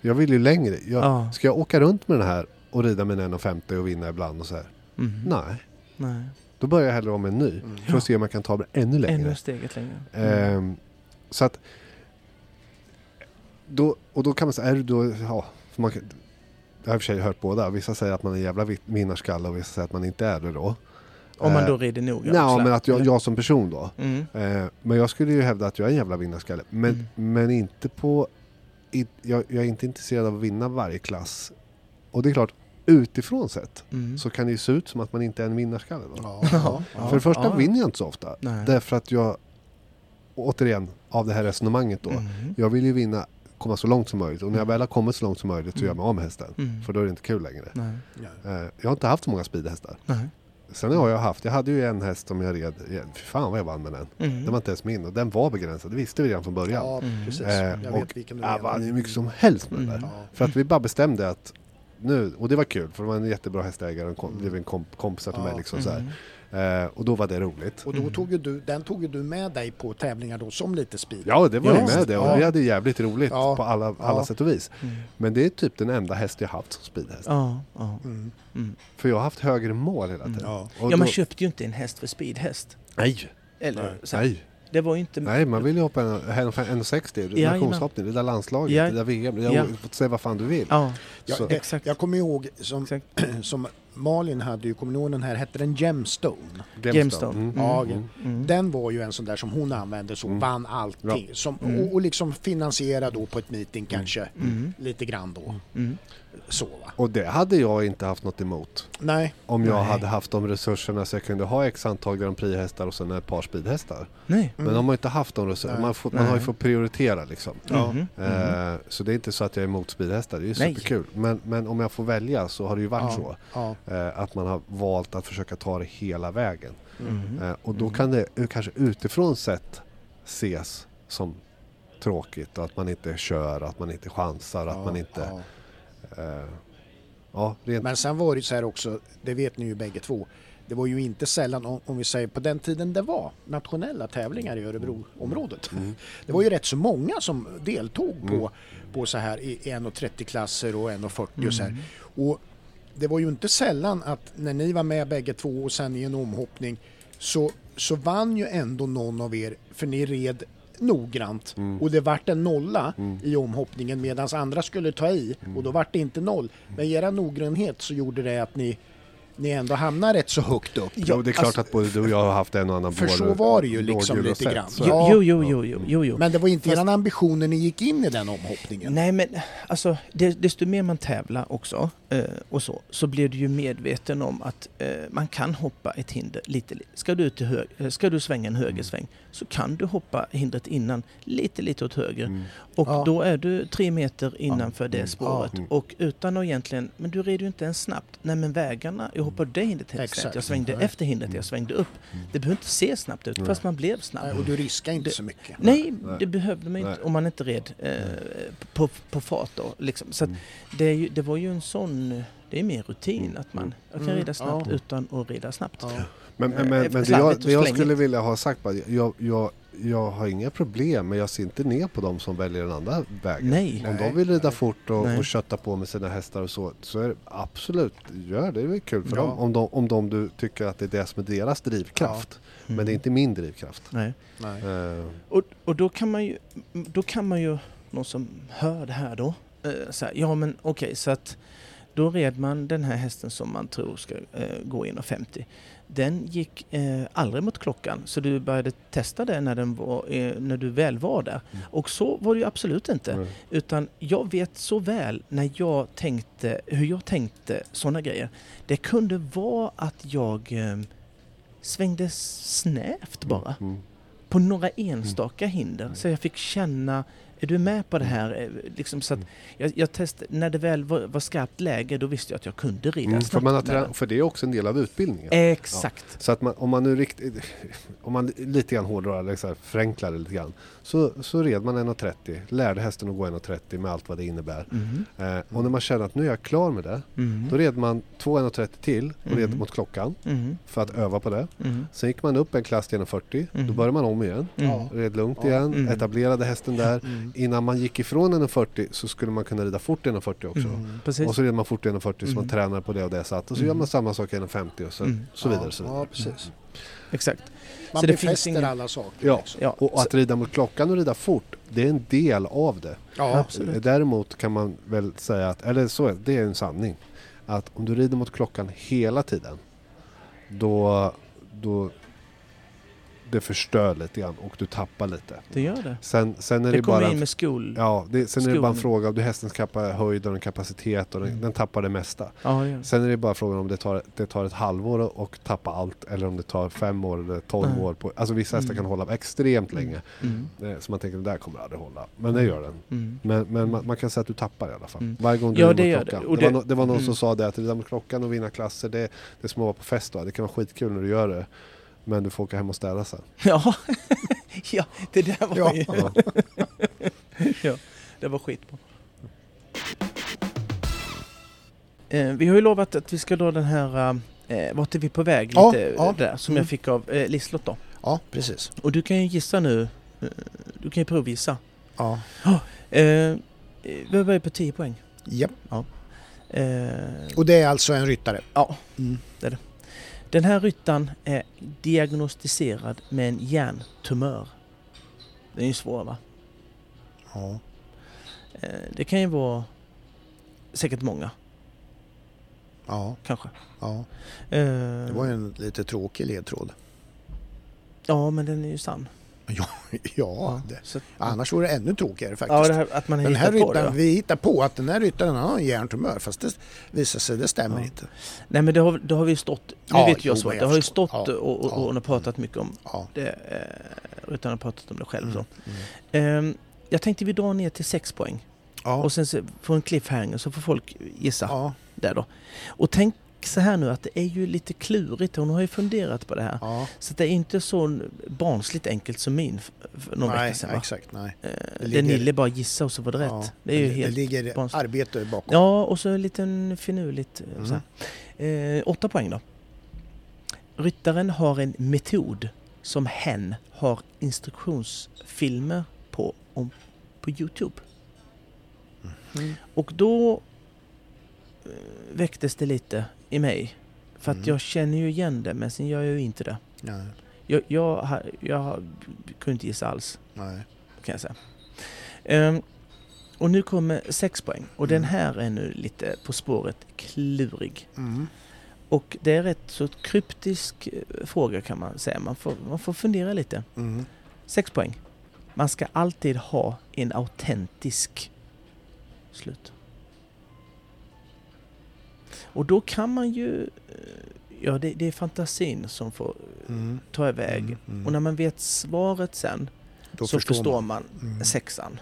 [SPEAKER 5] jag vill ju längre. Jag,
[SPEAKER 2] Ja.
[SPEAKER 5] Ska jag åka runt med den här och rida med en 50 och vinna ibland och så här?
[SPEAKER 2] Mm.
[SPEAKER 5] Nej.
[SPEAKER 2] Nej.
[SPEAKER 5] Då börjar jag hellre om en ny. För att se om jag kan ta mig ännu längre.
[SPEAKER 2] Mm. Ännu steget längre.
[SPEAKER 5] Ehm, så att... Då, och då kan man säga, är du då... Ja, för man, kan- jag har i och för sig hört båda. Vissa säger att man är en jävla vit- vinnarskalle och vissa säger att man inte är det då.
[SPEAKER 2] Om man då
[SPEAKER 5] eh,
[SPEAKER 2] rider noga.
[SPEAKER 5] Ja, men att jag, jag som person då.
[SPEAKER 2] Mm.
[SPEAKER 5] Eh, men jag skulle ju hävda att jag är en jävla vinnarskalle. Men, men inte på... I, jag, jag är inte intresserad av att vinna varje klass. Och det är klart, utifrån sett
[SPEAKER 2] Mm.
[SPEAKER 5] så kan det ju se ut som att man inte är en vinnarskalle. Då.
[SPEAKER 1] Ja. Ja.
[SPEAKER 5] För det första
[SPEAKER 2] ja.
[SPEAKER 5] vinner jag inte så ofta.
[SPEAKER 2] Nej.
[SPEAKER 5] Därför att jag, återigen, av det här resonemanget då.
[SPEAKER 2] Mm.
[SPEAKER 5] Jag vill ju vinna, komma så långt som möjligt. Och när jag väl har kommit så långt som möjligt så gör jag mig av med hästen.
[SPEAKER 2] Mm.
[SPEAKER 5] För då är det inte kul längre.
[SPEAKER 2] Nej.
[SPEAKER 5] Eh, Jag har inte haft så många speedhästar.
[SPEAKER 2] Nej.
[SPEAKER 5] Sen har jag haft, jag hade ju en häst som jag red, fy fan vad jag vann med den.
[SPEAKER 2] Mm.
[SPEAKER 5] Den var inte ens min och den var begränsad, det visste vi redan från början.
[SPEAKER 1] Ja, precis.
[SPEAKER 5] Eh,
[SPEAKER 1] Jag
[SPEAKER 5] och-
[SPEAKER 1] vet vilken du
[SPEAKER 5] Jag vann hur
[SPEAKER 1] menar.
[SPEAKER 5] mycket som helst med den
[SPEAKER 2] Mm.
[SPEAKER 5] där.
[SPEAKER 1] Ja.
[SPEAKER 5] För att vi bara bestämde att nu, och det var kul för det var en jättebra hästägare, och kom, blev en komp, kompisar till
[SPEAKER 1] Mm. Ja.
[SPEAKER 5] mig liksom så här.
[SPEAKER 2] Mm.
[SPEAKER 5] Eh, Och då var det roligt.
[SPEAKER 1] Och då tog ju du, den tog ju du med dig på tävlingar då som lite speed.
[SPEAKER 5] Ja, det var
[SPEAKER 2] Ja.
[SPEAKER 5] ju med det. Och
[SPEAKER 1] Ja.
[SPEAKER 5] vi hade jävligt roligt
[SPEAKER 1] Ja.
[SPEAKER 5] på alla, alla
[SPEAKER 1] Ja.
[SPEAKER 5] sätt och vis. Men det är typ den enda häst jag haft som speedhäst.
[SPEAKER 2] Mm. Ja, ja.
[SPEAKER 5] För jag har haft högre mål hela tiden.
[SPEAKER 1] Ja.
[SPEAKER 5] Mm. Och
[SPEAKER 2] ja, man
[SPEAKER 5] då-
[SPEAKER 2] köpte ju inte en häst för speedhäst.
[SPEAKER 5] Nej.
[SPEAKER 2] Eller så här.
[SPEAKER 5] Nej.
[SPEAKER 2] Det var ju inte...
[SPEAKER 5] Nej, man vill ju hoppa en- en- 1,60. Det
[SPEAKER 2] Ja,
[SPEAKER 5] där nationshoppning, det där landslaget,
[SPEAKER 2] Ja.
[SPEAKER 5] det där VM. Det där,
[SPEAKER 2] Ja.
[SPEAKER 5] Säg vad fan du vill.
[SPEAKER 2] Ja,
[SPEAKER 1] Ja,
[SPEAKER 5] Så-
[SPEAKER 1] det,
[SPEAKER 2] exakt.
[SPEAKER 1] Jag kommer ihåg som,
[SPEAKER 2] exakt.
[SPEAKER 1] som Malin hade ju, kommer ni ihåg den här, hette den Gemstone?
[SPEAKER 2] Gemstone.
[SPEAKER 5] Mm.
[SPEAKER 1] Ja,
[SPEAKER 2] Mm.
[SPEAKER 1] Den var ju en sån där som hon använde som vann allting. Som,
[SPEAKER 2] Mm.
[SPEAKER 1] och, och liksom finansiera då på ett meeting kanske lite grann då.
[SPEAKER 2] Mm.
[SPEAKER 1] Så va?
[SPEAKER 5] Och det hade jag inte haft något emot.
[SPEAKER 1] Nej,
[SPEAKER 5] Om jag hade haft de resurserna så jag kunde ha x antal Grand Prix-hästar och sen ett par speedhästar.
[SPEAKER 2] Nej.
[SPEAKER 5] Men de har inte haft de resurserna. Man, får, man har ju fått prioritera liksom.
[SPEAKER 2] Mhm.
[SPEAKER 5] Eh, Så det är inte så att jag är emot speedhästar, det är ju
[SPEAKER 2] Nej.
[SPEAKER 5] superkul. Men, men om jag får välja så har det ju varit så.
[SPEAKER 1] ja.
[SPEAKER 5] Eh, Att man har valt att försöka ta det hela vägen. Eh, Och
[SPEAKER 1] Mm.
[SPEAKER 5] då kan det eh, kanske utifrån sett ses som tråkigt och att man inte kör, att man inte chansar, att man inte... Ja,
[SPEAKER 1] ja.
[SPEAKER 5] rent...
[SPEAKER 1] Men sen var det ju så här också, det vet ni ju bägge två. Det var ju inte sällan, om, om vi säger på den tiden det var nationella tävlingar i Örebroområdet. Det var ju rätt så många som deltog på, på så här i 1,30-klasser och 1,40 och så här. Och det var ju inte sällan att när ni var med bägge två och sen i en omhoppning så, så vann ju ändå någon av er för ni red noggrant
[SPEAKER 5] Mm.
[SPEAKER 1] och det vart en nolla i omhoppningen medan
[SPEAKER 5] Mm.
[SPEAKER 1] andra skulle ta i och då vart det inte noll. Men era noggrannhet så gjorde det att ni ni ändå hamnar rätt så högt upp.
[SPEAKER 5] jo, det är klart
[SPEAKER 2] alltså-
[SPEAKER 5] att både du och jag har haft en och annan
[SPEAKER 1] För
[SPEAKER 5] bål-
[SPEAKER 1] så var det ju liksom
[SPEAKER 5] båljul och
[SPEAKER 1] lite
[SPEAKER 5] sett,
[SPEAKER 1] grann.
[SPEAKER 5] så-
[SPEAKER 1] Ja.
[SPEAKER 2] Jo, jo, jo, jo, jo, jo.
[SPEAKER 1] Men det var inte eran ambition när ni gick in i den omhoppningen.
[SPEAKER 2] Nej men alltså, det, desto mer man tävlar också eh, och så, så blir du ju medveten om att eh, man kan hoppa ett hinder lite. li- Ska du, till hög, eh, ska du svänga en
[SPEAKER 1] Mm.
[SPEAKER 2] högersväng så kan du hoppa hindret innan lite, lite åt höger. Och
[SPEAKER 1] Ja.
[SPEAKER 2] då är du tre meter innanför det spåret.
[SPEAKER 1] Mm. Ja. Mm.
[SPEAKER 2] Och utan att egentligen, men du red ju inte ens snabbt. Nej men vägarna, jag hoppade det hindret helt
[SPEAKER 1] Mm. Exakt.
[SPEAKER 2] snett. Jag svängde
[SPEAKER 1] Mm.
[SPEAKER 2] efter hindret, jag svängde upp. Det behöver inte se snabbt ut, fast man blev snabb.
[SPEAKER 1] Nej, Och du riskar inte så mycket.
[SPEAKER 2] Nej, det behövde man ju
[SPEAKER 5] Nej.
[SPEAKER 2] inte om man inte red eh, på, på fart då. Liksom. Så att det, är ju, det var ju en sån, det är mer rutin att man jag kan
[SPEAKER 1] Mm,
[SPEAKER 2] rida snabbt
[SPEAKER 1] ja.
[SPEAKER 2] utan att rida snabbt.
[SPEAKER 1] Ja.
[SPEAKER 5] Men, men,
[SPEAKER 2] Eh,
[SPEAKER 5] men, men det
[SPEAKER 2] slarvigt
[SPEAKER 5] jag,
[SPEAKER 2] och
[SPEAKER 5] det jag
[SPEAKER 2] slängigt.
[SPEAKER 5] skulle vilja ha sagt bara, jag, jag, jag har inga problem men jag ser inte ner på de som väljer den andra vägen.
[SPEAKER 2] Nej.
[SPEAKER 5] Om
[SPEAKER 1] Nej.
[SPEAKER 5] de vill rida fort och,
[SPEAKER 2] Nej.
[SPEAKER 5] och kötta på med sina hästar och så, så är det absolut, gör det. Det är väl kul för
[SPEAKER 1] Ja.
[SPEAKER 5] dem. Om de, om de du tycker att det är det som är deras drivkraft.
[SPEAKER 2] Mm.
[SPEAKER 5] Men det är inte min drivkraft.
[SPEAKER 2] Nej.
[SPEAKER 1] Nej.
[SPEAKER 5] Eh,
[SPEAKER 2] Och, och då kan man ju, då kan man ju, någon som hör det här då, eh, så här, ja men okej så att då red man den här hästen som man tror ska eh, gå 1,50. Den gick eh, aldrig mot klockan så du började testa det när, den var, eh, när du väl var där. Och så var det ju absolut inte.
[SPEAKER 5] Nej.
[SPEAKER 2] Utan jag vet så väl när jag tänkte, hur jag tänkte sådana grejer. Det kunde vara att jag eh, svängde snävt bara
[SPEAKER 5] mm.
[SPEAKER 2] på några enstaka hinder. Så jag fick känna, är du med på det
[SPEAKER 5] Mm.
[SPEAKER 2] här? Eh, Liksom så att jag, jag test, när det väl var, var skarpt läge då visste jag att jag kunde rida
[SPEAKER 5] Mm,
[SPEAKER 2] snabbt.
[SPEAKER 5] för, man har
[SPEAKER 2] med
[SPEAKER 5] trä-
[SPEAKER 2] den.
[SPEAKER 5] för det är också en del av
[SPEAKER 2] Eh.
[SPEAKER 5] utbildningen.
[SPEAKER 2] Exakt.
[SPEAKER 5] Så att man, om man nu riktigt, om man lite grann hårdrar eller så här, förenklar det lite grann. Så, så red man 1,30, lärde hästen att gå 1,30 med allt vad det innebär.
[SPEAKER 2] Mhm.
[SPEAKER 5] Eh, och när man känner att nu är jag klar med det,
[SPEAKER 2] Mhm.
[SPEAKER 5] då red man 2,1,30 till och red
[SPEAKER 2] Mm.
[SPEAKER 5] mot klockan
[SPEAKER 2] Mhm.
[SPEAKER 5] för att öva på det.
[SPEAKER 2] Mhm.
[SPEAKER 5] Sen gick man upp en klass till 1,40, då
[SPEAKER 2] Mm.
[SPEAKER 5] började man om igen.
[SPEAKER 2] Mm.
[SPEAKER 5] Red lugnt
[SPEAKER 1] Ja.
[SPEAKER 5] igen,
[SPEAKER 2] Mm.
[SPEAKER 5] etablerade hästen där.
[SPEAKER 1] Mm.
[SPEAKER 5] Innan man gick ifrån 1,40 så skulle man kunna rida fort 1,40 också.
[SPEAKER 2] Mm. Precis.
[SPEAKER 5] Och så red man fort 1,40 så man
[SPEAKER 2] Mm.
[SPEAKER 5] tränar på det och det sättet. Och så
[SPEAKER 2] Mm.
[SPEAKER 5] gör man samma sak 1,50 och så,
[SPEAKER 2] Mm.
[SPEAKER 5] så vidare. Så
[SPEAKER 1] Ja,
[SPEAKER 5] vidare. Mm.
[SPEAKER 1] ja, precis.
[SPEAKER 2] Exakt.
[SPEAKER 1] Man
[SPEAKER 2] Så det finns
[SPEAKER 1] befäster
[SPEAKER 2] ingen-
[SPEAKER 1] alla saker.
[SPEAKER 5] Ja.
[SPEAKER 1] liksom.
[SPEAKER 2] Ja.
[SPEAKER 5] Och att rida mot klockan och rida fort, det är en del av det. Eh,
[SPEAKER 1] Ja.
[SPEAKER 2] Absolut.
[SPEAKER 5] Däremot kan man väl säga att, eller så är det är en sanning, att om du rider mot klockan hela tiden, då, då det förstör lite grann och du tappar lite.
[SPEAKER 2] Det gör det.
[SPEAKER 5] Sen, sen är det,
[SPEAKER 2] Det
[SPEAKER 5] bara...
[SPEAKER 2] kommer in med skol... Ja,
[SPEAKER 5] Ja, det, sen är det bara en
[SPEAKER 2] skolan.
[SPEAKER 5] fråga om du hästens kappa, höjd och den kapacitet och den,
[SPEAKER 2] Mm.
[SPEAKER 5] den tappar det mesta.
[SPEAKER 2] ja det gör det.
[SPEAKER 5] Sen är det bara frågan om det tar, det tar ett halvår att- att tappa allt eller om det tar fem år eller tolv
[SPEAKER 2] Mm.
[SPEAKER 5] år. På, alltså vissa hästar
[SPEAKER 2] Mm.
[SPEAKER 5] kan hålla extremt länge.
[SPEAKER 2] Mm.
[SPEAKER 5] Eh, Så man tänker det där kommer aldrig hålla. Men det gör den.
[SPEAKER 2] Mm.
[SPEAKER 5] Men, men man, man kan säga att du tappar i alla fall.
[SPEAKER 2] Mm.
[SPEAKER 5] Varje gång du
[SPEAKER 2] Ja,
[SPEAKER 5] rider
[SPEAKER 2] det
[SPEAKER 5] mot
[SPEAKER 2] gör det.
[SPEAKER 5] klockan.
[SPEAKER 2] Och
[SPEAKER 5] Det, var
[SPEAKER 2] det-
[SPEAKER 5] no, det var någon som
[SPEAKER 2] Mm.
[SPEAKER 5] sa det att rida mot klockan och vinna klasser det, det är som att vara på fest. Va? Det kan vara skitkul när du gör det. Men du får åka hem och städa sen.
[SPEAKER 2] Ja. ja, det där var
[SPEAKER 1] Ja.
[SPEAKER 2] ju...
[SPEAKER 5] Ja.
[SPEAKER 2] ja, det var skitbra. Eh, vi har ju lovat att vi ska dra den här eh, Vart är vi på väg?
[SPEAKER 1] Ja,
[SPEAKER 2] lite eh,
[SPEAKER 1] ja.
[SPEAKER 2] där som
[SPEAKER 1] Mm.
[SPEAKER 2] jag fick av eh, Liselott då.
[SPEAKER 1] ja, precis.
[SPEAKER 2] Och du kan ju gissa nu. eh, Du kan ju provgissa.
[SPEAKER 1] Ja.
[SPEAKER 2] Eh, eh, vi börjar på 10 poäng.
[SPEAKER 1] Japp.
[SPEAKER 2] Eh,
[SPEAKER 1] Och det är alltså en ryttare?
[SPEAKER 2] Ja,
[SPEAKER 1] Mm.
[SPEAKER 2] det är det. Den här ryttaren är diagnostiserad med en hjärntumör. Den är ju svår va?
[SPEAKER 1] Ja.
[SPEAKER 2] Eh, Det kan ju vara säkert många
[SPEAKER 1] Ja,
[SPEAKER 2] kanske.
[SPEAKER 1] ja. Det
[SPEAKER 2] Eh,
[SPEAKER 1] var ju en lite tråkig ledtråd.
[SPEAKER 2] Ja, men den är ju sann.
[SPEAKER 1] Ja, det.
[SPEAKER 2] Så att,
[SPEAKER 1] annars vore det ännu tråkigare faktiskt.
[SPEAKER 2] ja, det här, att man har
[SPEAKER 1] Den här
[SPEAKER 2] hittat på det.
[SPEAKER 1] ryttaren,
[SPEAKER 2] Ja.
[SPEAKER 1] vi hittar på att den här ryttaren han har en hjärntumör fast det visar sig det stämmer
[SPEAKER 2] Ja.
[SPEAKER 1] inte.
[SPEAKER 2] Nej, men det har, det har vi ju stått... Nu
[SPEAKER 1] Ja,
[SPEAKER 2] vet
[SPEAKER 1] jo,
[SPEAKER 2] jag så.
[SPEAKER 1] men jag
[SPEAKER 2] Det har ju
[SPEAKER 1] förstår.
[SPEAKER 2] stått
[SPEAKER 1] Ja,
[SPEAKER 2] och, och,
[SPEAKER 1] ja. Mm.
[SPEAKER 2] och hon har pratat mycket om
[SPEAKER 1] Ja.
[SPEAKER 2] det. Eh, utan att ha pratat om det själv.
[SPEAKER 1] Mm,
[SPEAKER 2] Så. Eh, jag tänkte vi drar ner till sex poäng.
[SPEAKER 1] Ja.
[SPEAKER 2] Och sen så får en cliffhanger så får folk gissa
[SPEAKER 1] Ja.
[SPEAKER 2] där då. Och tänk så här nu att det är ju lite klurigt. Hon har ju funderat på det här.
[SPEAKER 1] Ja.
[SPEAKER 2] Så det är inte så barnsligt enkelt som min f- för någon
[SPEAKER 1] Nej,
[SPEAKER 2] vecka sedan. Va?
[SPEAKER 1] exakt. Nej.
[SPEAKER 2] Eh,
[SPEAKER 1] ligger-
[SPEAKER 2] Där Nille bara gissade och så var det rätt.
[SPEAKER 1] Ja.
[SPEAKER 2] Det är ju
[SPEAKER 1] det,
[SPEAKER 2] helt
[SPEAKER 1] det ligger
[SPEAKER 2] barnsligt.
[SPEAKER 1] arbete bakom.
[SPEAKER 2] Ja, och så en liten finurligt. eh,
[SPEAKER 1] Mm.
[SPEAKER 2] Så här. Eh, åtta poäng då. Ryttaren har en metod som hen har instruktionsfilmer på, om, på Youtube.
[SPEAKER 1] Mm.
[SPEAKER 2] Och då eh, väcktes det lite i mig. För att
[SPEAKER 1] Mm.
[SPEAKER 2] jag känner ju igen det, men sen gör jag ju inte det.
[SPEAKER 1] Nej.
[SPEAKER 2] Jag, jag, ha- jag ha- kunde inte gissa alls,
[SPEAKER 1] Nej.
[SPEAKER 2] kan jag säga. Ehm, och nu kommer sex poäng. Och
[SPEAKER 1] Mm.
[SPEAKER 2] den här är nu lite På spåret klurig.
[SPEAKER 1] Mm.
[SPEAKER 2] Och det är rätt så kryptisk eh, fråga kan man säga. Man får, man får fundera lite.
[SPEAKER 1] Mm.
[SPEAKER 2] Sex poäng. Man ska alltid ha en autentisk slut. Och då kan man ju... eh, Ja, det, det är fantasin som får
[SPEAKER 1] Mm.
[SPEAKER 2] ta iväg.
[SPEAKER 1] Mm, mm.
[SPEAKER 2] Och när man vet svaret sen
[SPEAKER 1] Då
[SPEAKER 2] så förstår, man,
[SPEAKER 1] Mm.
[SPEAKER 2] sexan.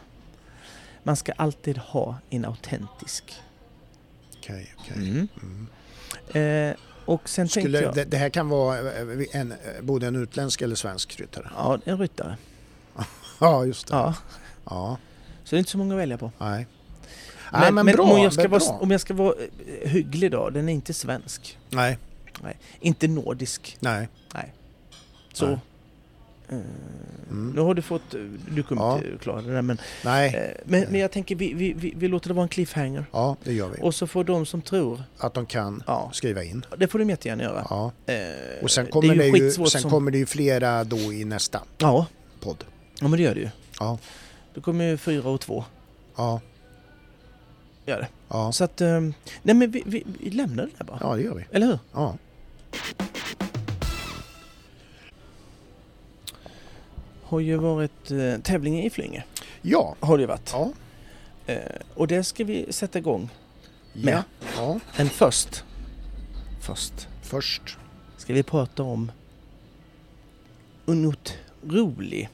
[SPEAKER 2] Man ska alltid ha en autentisk.
[SPEAKER 1] Okej, okej.
[SPEAKER 2] Mm.
[SPEAKER 1] Mm.
[SPEAKER 2] Eh, och sen tänkte
[SPEAKER 1] Skulle,
[SPEAKER 2] jag...
[SPEAKER 1] det, det här kan vara eh, en, eh, både en utländsk eller svensk ryttare?
[SPEAKER 2] Ja, en ryttare.
[SPEAKER 1] Ja, just det. Ja,
[SPEAKER 2] Ja. Så det är inte så många att välja på.
[SPEAKER 1] nej.
[SPEAKER 2] Men,
[SPEAKER 1] nej, Ah, men,
[SPEAKER 2] men
[SPEAKER 1] bra.
[SPEAKER 2] om, jag ska
[SPEAKER 1] men bra.
[SPEAKER 2] vara, om jag ska vara eh, hygglig då, den är inte svensk.
[SPEAKER 1] Nej,
[SPEAKER 2] Inte nordisk.
[SPEAKER 1] nej.
[SPEAKER 2] Så.
[SPEAKER 1] Nej.
[SPEAKER 2] Eh,
[SPEAKER 1] Mm.
[SPEAKER 2] Nu har du fått, eh, du kommer
[SPEAKER 1] Ja.
[SPEAKER 2] inte klara det där men,
[SPEAKER 1] Nej,
[SPEAKER 2] eh, men, men jag tänker vi, vi, vi, vi låter det vara en cliffhanger.
[SPEAKER 1] ja det gör vi.
[SPEAKER 2] Och så får de som tror,
[SPEAKER 1] Att de kan
[SPEAKER 2] ja,
[SPEAKER 1] skriva in.
[SPEAKER 2] det får de jättegärna göra.
[SPEAKER 1] Ja.
[SPEAKER 2] Eh,
[SPEAKER 1] Och sen kommer det ju,
[SPEAKER 2] skitsvårt
[SPEAKER 1] sen
[SPEAKER 2] som-
[SPEAKER 1] kommer det ju flera då i nästa
[SPEAKER 2] Ja,
[SPEAKER 1] podd.
[SPEAKER 2] ja, men det gör det ju.
[SPEAKER 1] Ja,
[SPEAKER 2] Då kommer ju fyra och två.
[SPEAKER 1] ja,
[SPEAKER 2] Gör det.
[SPEAKER 1] ja.
[SPEAKER 2] Så att, eh, nej men vi, vi, vi lämnar det där bara.
[SPEAKER 1] Ja, det gör vi.
[SPEAKER 2] Eller hur?
[SPEAKER 1] Ja.
[SPEAKER 2] Har ju varit eh, tävling i Flyinge.
[SPEAKER 1] Ja.
[SPEAKER 2] Har det ju varit.
[SPEAKER 1] Ja.
[SPEAKER 2] Eh, och det ska vi sätta igång.
[SPEAKER 1] Ja.
[SPEAKER 2] Men-
[SPEAKER 1] ja.
[SPEAKER 2] Men först, först
[SPEAKER 1] Först.
[SPEAKER 2] ska vi prata om en otrolig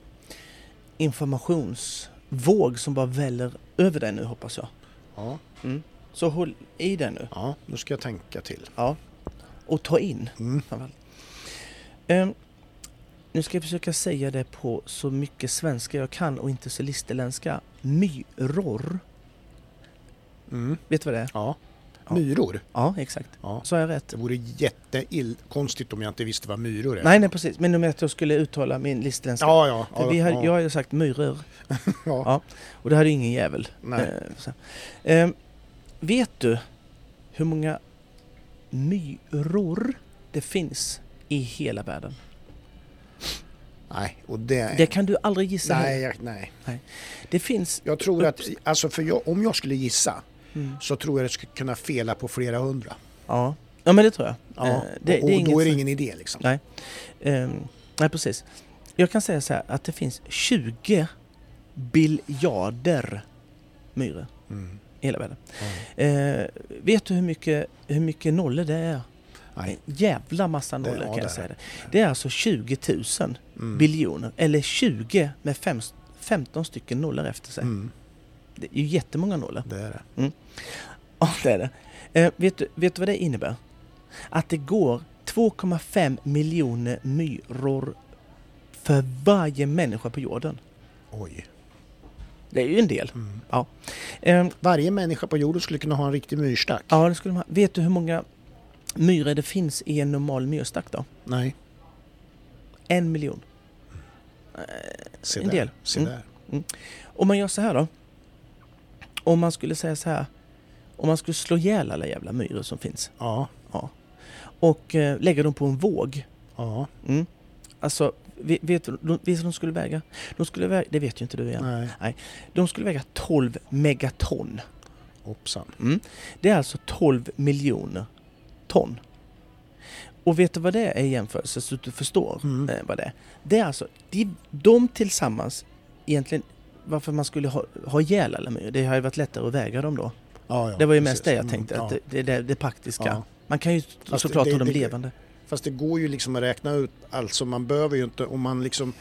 [SPEAKER 2] informationsvåg som bara väller över dig nu hoppas jag.
[SPEAKER 1] Ja.
[SPEAKER 2] Så håll i den nu
[SPEAKER 1] ja, nu ska jag tänka till.
[SPEAKER 2] och ta in.
[SPEAKER 1] Mm.
[SPEAKER 2] framförallt. Ehm, nu ska jag försöka säga det på så mycket svenska jag kan och inte så listerländska. Myror.
[SPEAKER 1] Mm.
[SPEAKER 2] Vet du vad det är?
[SPEAKER 1] Ja.
[SPEAKER 2] Ja.
[SPEAKER 1] Myror.
[SPEAKER 2] Ja, exakt.
[SPEAKER 1] Ja.
[SPEAKER 2] Sa jag rätt?
[SPEAKER 1] Det vore jättekonstigt om jag inte visste vad myror är.
[SPEAKER 2] Nej, nej precis. Men om att jag skulle uttala min listerländska.
[SPEAKER 1] Ja, ja.
[SPEAKER 2] För
[SPEAKER 1] ja,
[SPEAKER 2] vi hade,
[SPEAKER 1] ja.
[SPEAKER 2] Jag har ju sagt myror
[SPEAKER 1] ja.
[SPEAKER 2] ja. och det hade ju ingen jävel.
[SPEAKER 1] Nej.
[SPEAKER 2] Eh, så. Ehm, vet du hur många myror det finns i hela världen?
[SPEAKER 1] nej, och det...
[SPEAKER 2] Det kan du aldrig gissa.
[SPEAKER 1] nej,
[SPEAKER 2] heller.
[SPEAKER 1] jag, nej.
[SPEAKER 2] Det finns...
[SPEAKER 1] Jag tror att, alltså för jag, om jag skulle gissa
[SPEAKER 2] Mm.
[SPEAKER 1] så tror jag det skulle kunna fela på flera hundra.
[SPEAKER 2] Ja. ja, men det tror jag. Eh,
[SPEAKER 1] Ja. och
[SPEAKER 2] det- det är
[SPEAKER 1] och
[SPEAKER 2] inget-
[SPEAKER 1] då är det ingen idé liksom.
[SPEAKER 2] Nej. Ehm, nej, precis. Jag kan säga så här att det finns 20 biljarder myror
[SPEAKER 1] Mm.
[SPEAKER 2] i hela världen. Eh, vet du hur mycket, hur mycket nollor det är?
[SPEAKER 1] Nej.
[SPEAKER 2] En jävla massa nollor
[SPEAKER 1] ja, Mm.
[SPEAKER 2] kan
[SPEAKER 1] det är
[SPEAKER 2] jag säga. Det. det är alltså 20 000 biljoner, eller 20 med fem, 15 stycken nollor efter sig.
[SPEAKER 1] Mm.
[SPEAKER 2] Det är ju jättemånga nollor.
[SPEAKER 1] Det är det.
[SPEAKER 2] Ja, det är det. Eh, vet, du, vet du vad det innebär? Att det går 2,5 miljoner myror för varje människa på jorden.
[SPEAKER 1] Oj.
[SPEAKER 2] Det är ju en del.
[SPEAKER 1] Mm.
[SPEAKER 2] Ja. Eh,
[SPEAKER 1] Varje människa på jorden skulle kunna ha en riktig myrstack.
[SPEAKER 2] ja, det skulle man, vet du hur många myror det finns i en normal myrstack då?
[SPEAKER 1] Nej,
[SPEAKER 2] En miljon.
[SPEAKER 1] se
[SPEAKER 2] En
[SPEAKER 1] där.
[SPEAKER 2] del.
[SPEAKER 1] Se
[SPEAKER 2] Mm.
[SPEAKER 1] där.
[SPEAKER 2] Om man gör så här då. Om man skulle säga så här. Om man skulle slå ihjäl alla jävla myror som finns
[SPEAKER 1] Ja,
[SPEAKER 2] och eh, lägga dem på en våg.
[SPEAKER 1] ja,
[SPEAKER 2] Mm. Alltså, vet, vet, du- vet du vad de skulle väga? De skulle väga, det vet ju inte du igen.
[SPEAKER 1] nej.
[SPEAKER 2] De skulle väga 12 megaton.
[SPEAKER 1] Hoppsan.
[SPEAKER 2] Det är alltså 12 miljoner ton. Och vet du vad det är i jämförelse så att du förstår
[SPEAKER 1] Mm.
[SPEAKER 2] eh, vad det är? Det är alltså, de, de tillsammans egentligen varför man skulle ha, ha ihjäl alla myror. Det har ju varit lättare att väga dem då.
[SPEAKER 1] Ja, ja,
[SPEAKER 2] det var ju
[SPEAKER 1] precis.
[SPEAKER 2] mest det jag
[SPEAKER 1] Mm,
[SPEAKER 2] tänkte, att
[SPEAKER 1] ja.
[SPEAKER 2] det, det, det, det praktiska.
[SPEAKER 1] Ja.
[SPEAKER 2] Man kan ju
[SPEAKER 1] Fast
[SPEAKER 2] såklart
[SPEAKER 1] det-
[SPEAKER 2] ha dem
[SPEAKER 1] det-
[SPEAKER 2] levande.
[SPEAKER 1] Fast det går ju liksom att räkna ut, alltså man behöver ju inte, om man liksom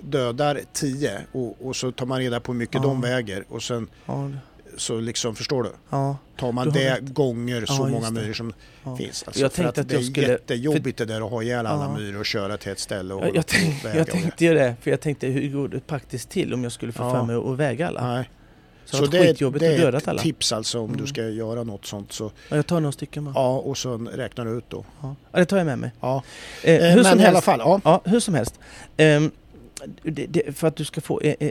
[SPEAKER 1] dödar 10 och, och så tar man reda på hur mycket
[SPEAKER 2] Ja.
[SPEAKER 1] de väger och sen
[SPEAKER 2] Ja,
[SPEAKER 1] så liksom, förstår du?
[SPEAKER 2] ja.
[SPEAKER 1] Tar
[SPEAKER 2] Du
[SPEAKER 1] man
[SPEAKER 2] har
[SPEAKER 1] det gånger så
[SPEAKER 2] Ja, just
[SPEAKER 1] många
[SPEAKER 2] det.
[SPEAKER 1] myror som
[SPEAKER 2] Ja.
[SPEAKER 1] finns. Alltså,
[SPEAKER 2] Jag
[SPEAKER 1] för
[SPEAKER 2] tänkte att jag
[SPEAKER 1] det är
[SPEAKER 2] skulle-
[SPEAKER 1] jättejobbigt det där att ha ihjäl alla
[SPEAKER 2] Ja.
[SPEAKER 1] myror och köra till ett ställe och
[SPEAKER 2] Jag,
[SPEAKER 1] hålla
[SPEAKER 2] jag,
[SPEAKER 1] på och
[SPEAKER 2] tänk,
[SPEAKER 1] väga
[SPEAKER 2] jag
[SPEAKER 1] och det.
[SPEAKER 2] tänkte ju det, för jag tänkte hur går det praktiskt till om jag skulle få
[SPEAKER 1] Ja.
[SPEAKER 2] för mig att väga alla?
[SPEAKER 1] Nej.
[SPEAKER 2] Så, det
[SPEAKER 1] är-
[SPEAKER 2] varit skitjobbigt
[SPEAKER 1] det
[SPEAKER 2] och
[SPEAKER 1] är
[SPEAKER 2] dödat
[SPEAKER 1] ett
[SPEAKER 2] alla.
[SPEAKER 1] tips alltså om du
[SPEAKER 2] Mm.
[SPEAKER 1] ska göra något sånt. Så,
[SPEAKER 2] Ja, jag tar några stycken bara. Ja.
[SPEAKER 1] ja, och så räknar du ut då.
[SPEAKER 2] Ja, det tar jag med mig.
[SPEAKER 1] Ja.
[SPEAKER 2] Eh,
[SPEAKER 1] Eh,
[SPEAKER 2] hur,
[SPEAKER 1] Men
[SPEAKER 2] som
[SPEAKER 1] i alla
[SPEAKER 2] helst,
[SPEAKER 1] fall, ja.
[SPEAKER 2] ja, hur som helst. Ehm, det, det, för att du ska få eh, eh,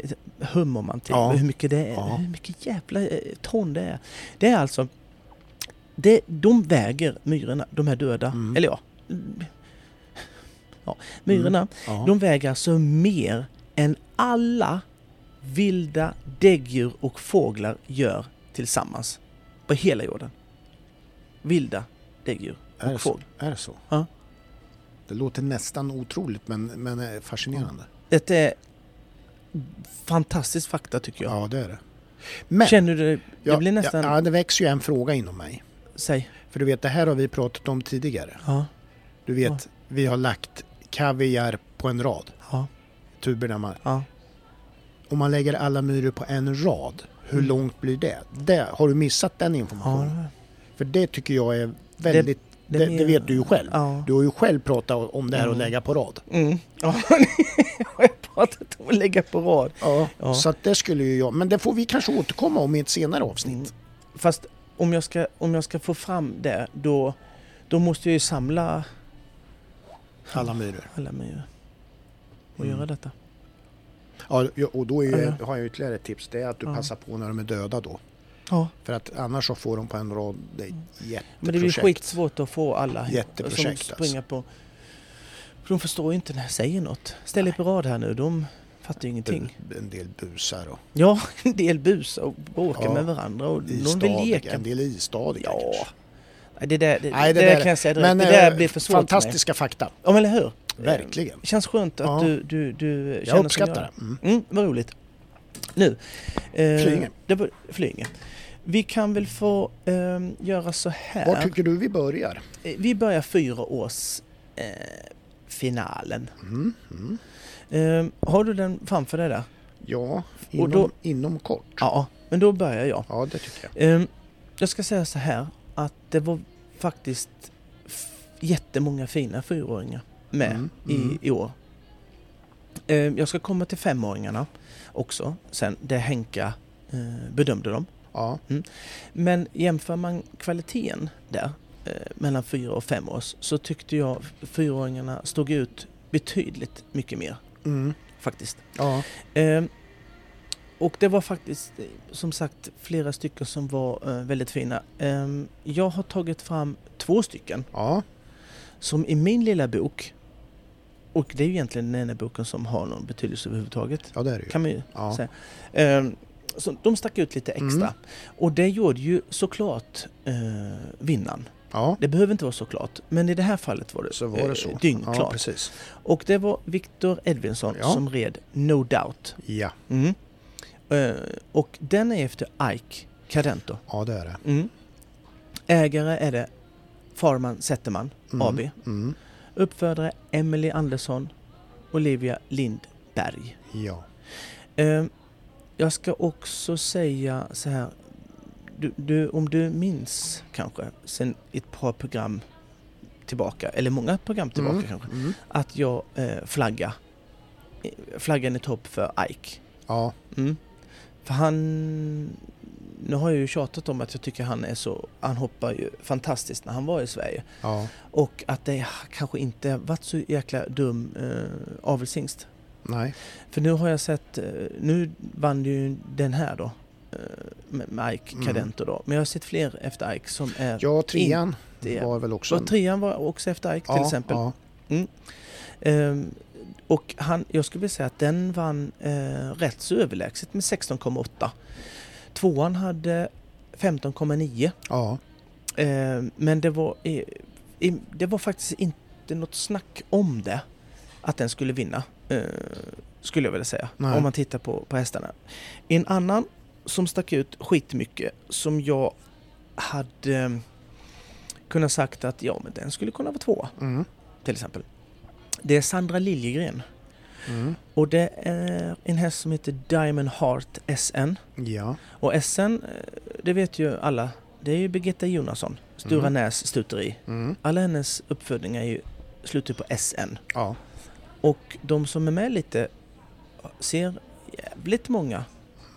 [SPEAKER 2] hum om man till
[SPEAKER 1] Ja.
[SPEAKER 2] hur mycket det är,
[SPEAKER 1] Ja.
[SPEAKER 2] hur mycket jävla eh, ton det är. Det är alltså, det, de väger myrorna, de här döda,
[SPEAKER 1] Mm.
[SPEAKER 2] eller ja, mm, ja myrorna,
[SPEAKER 1] ja.
[SPEAKER 2] de väger alltså mer än alla vilda däggdjur och fåglar gör tillsammans på hela jorden. Vilda däggdjur
[SPEAKER 1] Är det
[SPEAKER 2] och
[SPEAKER 1] så?
[SPEAKER 2] fågel.
[SPEAKER 1] Är det, så?
[SPEAKER 2] Ja.
[SPEAKER 1] det låter nästan otroligt men, men är fascinerande.
[SPEAKER 2] Detta är fantastisk fakta tycker jag.
[SPEAKER 1] Ja. det är det. Men,
[SPEAKER 2] Känner du dig...
[SPEAKER 1] ja,
[SPEAKER 2] Jag blir nästan...
[SPEAKER 1] ja, ja, det växer ju en fråga inom mig.
[SPEAKER 2] Säg.
[SPEAKER 1] För du vet, det här har vi pratat om tidigare.
[SPEAKER 2] Ja.
[SPEAKER 1] Du vet, vi har lagt kaviar på en rad.
[SPEAKER 2] Ja.
[SPEAKER 1] Tuberna man,
[SPEAKER 2] Ja.
[SPEAKER 1] om man lägger alla myror på en rad, hur långt blir det? det har du missat den informationen?
[SPEAKER 2] Mm. ja.
[SPEAKER 1] För det tycker jag är väldigt... Det,
[SPEAKER 2] det-
[SPEAKER 1] det,
[SPEAKER 2] det-
[SPEAKER 1] vet du ju själv.
[SPEAKER 2] Ja.
[SPEAKER 1] Du har ju själv pratat om det här att lägga på rad.
[SPEAKER 2] Mm. Ja, jag har pratat om att lägga på rad.
[SPEAKER 1] Ja.
[SPEAKER 2] Ja.
[SPEAKER 1] Så att det skulle ju jag... Men det får vi kanske återkomma om i ett senare avsnitt.
[SPEAKER 2] Mm. Fast om jag ska, om jag ska få fram det, då, då måste jag ju samla Mm.
[SPEAKER 1] Alla myror.
[SPEAKER 2] alla myror och
[SPEAKER 1] Mm.
[SPEAKER 2] göra detta.
[SPEAKER 1] Ja, ja, och då är ju,
[SPEAKER 2] Ja.
[SPEAKER 1] har jag ytterligare ett tips. Det är att du
[SPEAKER 2] Ja.
[SPEAKER 1] passar på när de är döda då.
[SPEAKER 2] Ja.
[SPEAKER 1] För att annars så får de på en rad... Det är ett
[SPEAKER 2] Mm. Men det blir
[SPEAKER 1] jätteprojekt.
[SPEAKER 2] skitsvårt att få alla som
[SPEAKER 1] Jätteprojekt, alltså.
[SPEAKER 2] springer på... För de förstår ju inte när jag säger något. Ställ er på rad här nu, de fattar ju ingenting.
[SPEAKER 1] En- En del busar och
[SPEAKER 2] Ja, en del busar och bråkar
[SPEAKER 1] Ja.
[SPEAKER 2] med varandra och de
[SPEAKER 1] istadiga.
[SPEAKER 2] vill leka.
[SPEAKER 1] En del istadiga
[SPEAKER 2] Ja.
[SPEAKER 1] kanske.
[SPEAKER 2] Nej, det där, det, det där kan jag säga direkt.
[SPEAKER 1] men,
[SPEAKER 2] det där
[SPEAKER 1] eh,
[SPEAKER 2] blir för svårt för mig.
[SPEAKER 1] Fantastiska fakta,
[SPEAKER 2] Ja, men eller hur?
[SPEAKER 1] verkligen.
[SPEAKER 2] Det känns skönt att
[SPEAKER 1] Ja.
[SPEAKER 2] du, du, du känner
[SPEAKER 1] Jag
[SPEAKER 2] som
[SPEAKER 1] uppskattar
[SPEAKER 2] gör.
[SPEAKER 1] det. Mm.
[SPEAKER 2] Mm, vad roligt. Nu. Eh,
[SPEAKER 1] Flyinge.
[SPEAKER 2] det var- Flyinge. Vi kan väl få ehm, göra så här.
[SPEAKER 1] Var tycker du vi börjar?
[SPEAKER 2] Eh, Vi börjar fyraårsfinalen. Eh, finalen.
[SPEAKER 1] Mm. Mm.
[SPEAKER 2] Ehm, har du den framför dig där?
[SPEAKER 1] Ja, inom,
[SPEAKER 2] Och då-
[SPEAKER 1] inom kort. Ja.
[SPEAKER 2] Ja, men då börjar jag.
[SPEAKER 1] det tycker jag.
[SPEAKER 2] Ehm, jag ska säga så här att det var faktiskt f- jättemånga fina fyraåringar med
[SPEAKER 1] Mm, mm.
[SPEAKER 2] I, i år. Ehm, jag ska komma till femåringarna också sen, där Henka eh, bedömde dem.
[SPEAKER 1] Ja,
[SPEAKER 2] Men jämför man kvaliteten där eh, mellan fyra och fem års så tyckte jag fyraåringarna stod ut betydligt mycket mer
[SPEAKER 1] mm.
[SPEAKER 2] faktiskt.
[SPEAKER 1] ja.
[SPEAKER 2] Ehm, och det var faktiskt eh, som sagt flera stycken som var eh, väldigt fina. Ehm, jag har tagit fram två stycken
[SPEAKER 1] ja.
[SPEAKER 2] som i min lilla bok och det är ju egentligen den enda boken som har någon betydelse överhuvudtaget.
[SPEAKER 1] ja det är det ju.
[SPEAKER 2] Kan man ju
[SPEAKER 1] Ja.
[SPEAKER 2] säga. Ehm, så de stack ut lite extra.
[SPEAKER 1] Mm.
[SPEAKER 2] Och det gjorde ju såklart eh, vinnaren.
[SPEAKER 1] Ja,
[SPEAKER 2] Det behöver inte vara såklart, men i det här fallet var det,
[SPEAKER 1] så var det så.
[SPEAKER 2] Eh, dyngklart.
[SPEAKER 1] Ja, precis.
[SPEAKER 2] och det var Victor Edvinsson
[SPEAKER 1] Ja.
[SPEAKER 2] som red No Doubt.
[SPEAKER 1] Ja,
[SPEAKER 2] Mm. Eh, och den är efter Ike Cadento.
[SPEAKER 1] ja det är det.
[SPEAKER 2] Mm. Ägare är det Farman Zetterman
[SPEAKER 1] Mm.
[SPEAKER 2] AB.
[SPEAKER 1] Mm.
[SPEAKER 2] Uppfödare Emily Andersson, Olivia Lindberg.
[SPEAKER 1] Ja.
[SPEAKER 2] Eh, jag ska också säga så här, du, du, om du minns kanske sen ett par program tillbaka, eller många program tillbaka
[SPEAKER 1] Mm.
[SPEAKER 2] kanske,
[SPEAKER 1] Mm.
[SPEAKER 2] att jag eh, flagga. eh, Flaggan i topp för Ike.
[SPEAKER 1] Ja,
[SPEAKER 2] Mm. För han... Nu har jag ju tjatat om att jag tycker han är så... Han hoppar ju fantastiskt när han var i Sverige.
[SPEAKER 1] ja.
[SPEAKER 2] Och att det kanske inte varit så jäkla dum eh, avelshingst.
[SPEAKER 1] Nej.
[SPEAKER 2] För nu har jag sett, eh, nu vann ju den här då eh, med med Ike
[SPEAKER 1] Mm.
[SPEAKER 2] Cadento då. Men jag har sett fler efter Ike som är...
[SPEAKER 1] Ja, trean
[SPEAKER 2] Inte-
[SPEAKER 1] var väl också...
[SPEAKER 2] och trean var också efter Ike till
[SPEAKER 1] ja,
[SPEAKER 2] exempel.
[SPEAKER 1] Ja.
[SPEAKER 2] Ehm, och han, jag skulle vilja säga att den vann eh, rätt så överlägset med 16,8. Tvåan hade 15,9.
[SPEAKER 1] ja.
[SPEAKER 2] Ehm, men det var, i, i, det var faktiskt inte något snack om det. Att den skulle vinna. eh, skulle jag vilja säga.
[SPEAKER 1] Nej.
[SPEAKER 2] Om man tittar på, på hästarna. En annan som stack ut skitmycket som jag hade eh, kunnat sagt att ja men den skulle kunna vara tvåa
[SPEAKER 1] Mm.
[SPEAKER 2] till exempel. Det är Sandra Liljegren
[SPEAKER 1] Mm.
[SPEAKER 2] och det är en häst som heter Diamond Heart SN.
[SPEAKER 1] Ja.
[SPEAKER 2] Och SN, eh, det vet ju alla, det är ju Birgitta Jonasson, Stora Näs stuteri.
[SPEAKER 1] Mm.
[SPEAKER 2] Alla hennes uppfödningar är ju slutar på SN.
[SPEAKER 1] Ja.
[SPEAKER 2] Och de som är med lite ser jävligt många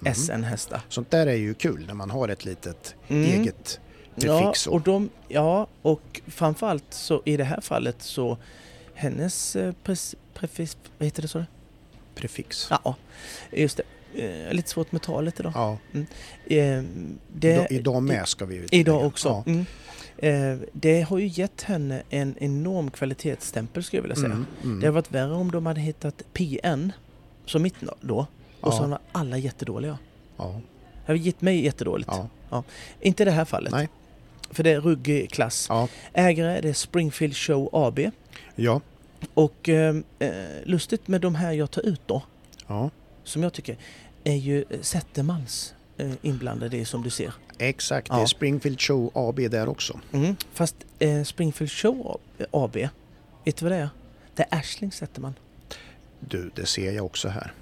[SPEAKER 1] Mhm.
[SPEAKER 2] SN-hästar.
[SPEAKER 1] Sånt där är ju kul när man har ett litet
[SPEAKER 2] Mm.
[SPEAKER 1] eget
[SPEAKER 2] Ja,
[SPEAKER 1] prefix.
[SPEAKER 2] och de, ja, och framförallt så i det här fallet så hennes eh, pres, prefix, vad heter det så?
[SPEAKER 1] prefix.
[SPEAKER 2] Ja, just det. Eh, lite svårt med talet idag.
[SPEAKER 1] Ja,
[SPEAKER 2] Eh,
[SPEAKER 1] idag,
[SPEAKER 2] det,
[SPEAKER 1] idag med ska vi
[SPEAKER 2] idag också.
[SPEAKER 1] Ja.
[SPEAKER 2] Mm. Eh, det har ju gett henne en enorm kvalitetsstämpel skulle jag vilja säga.
[SPEAKER 1] Mm, mm.
[SPEAKER 2] Det hade varit värre om de hade hittat PN som mitt nå- då och
[SPEAKER 1] Ja.
[SPEAKER 2] så var alla jättedåliga.
[SPEAKER 1] Ja,
[SPEAKER 2] Det hade gett mig jättedåligt.
[SPEAKER 1] ja.
[SPEAKER 2] Inte i det här fallet.
[SPEAKER 1] Nej.
[SPEAKER 2] För det är ruggig klass.
[SPEAKER 1] Ja.
[SPEAKER 2] Ägare det är Springfield Show AB.
[SPEAKER 1] Ja.
[SPEAKER 2] Och eh, eh, lustigt med de här jag tar ut då,
[SPEAKER 1] ja.
[SPEAKER 2] som jag tycker, är ju eh, Zettermans eh, inblandade i som du ser.
[SPEAKER 1] Exakt, det
[SPEAKER 2] Ja.
[SPEAKER 1] är Springfield Show AB där också.
[SPEAKER 2] Mm. Fast eh, Springfield Show AB, vet du vad det är? Det är Ashling Zetterman.
[SPEAKER 1] Du, det ser jag också här.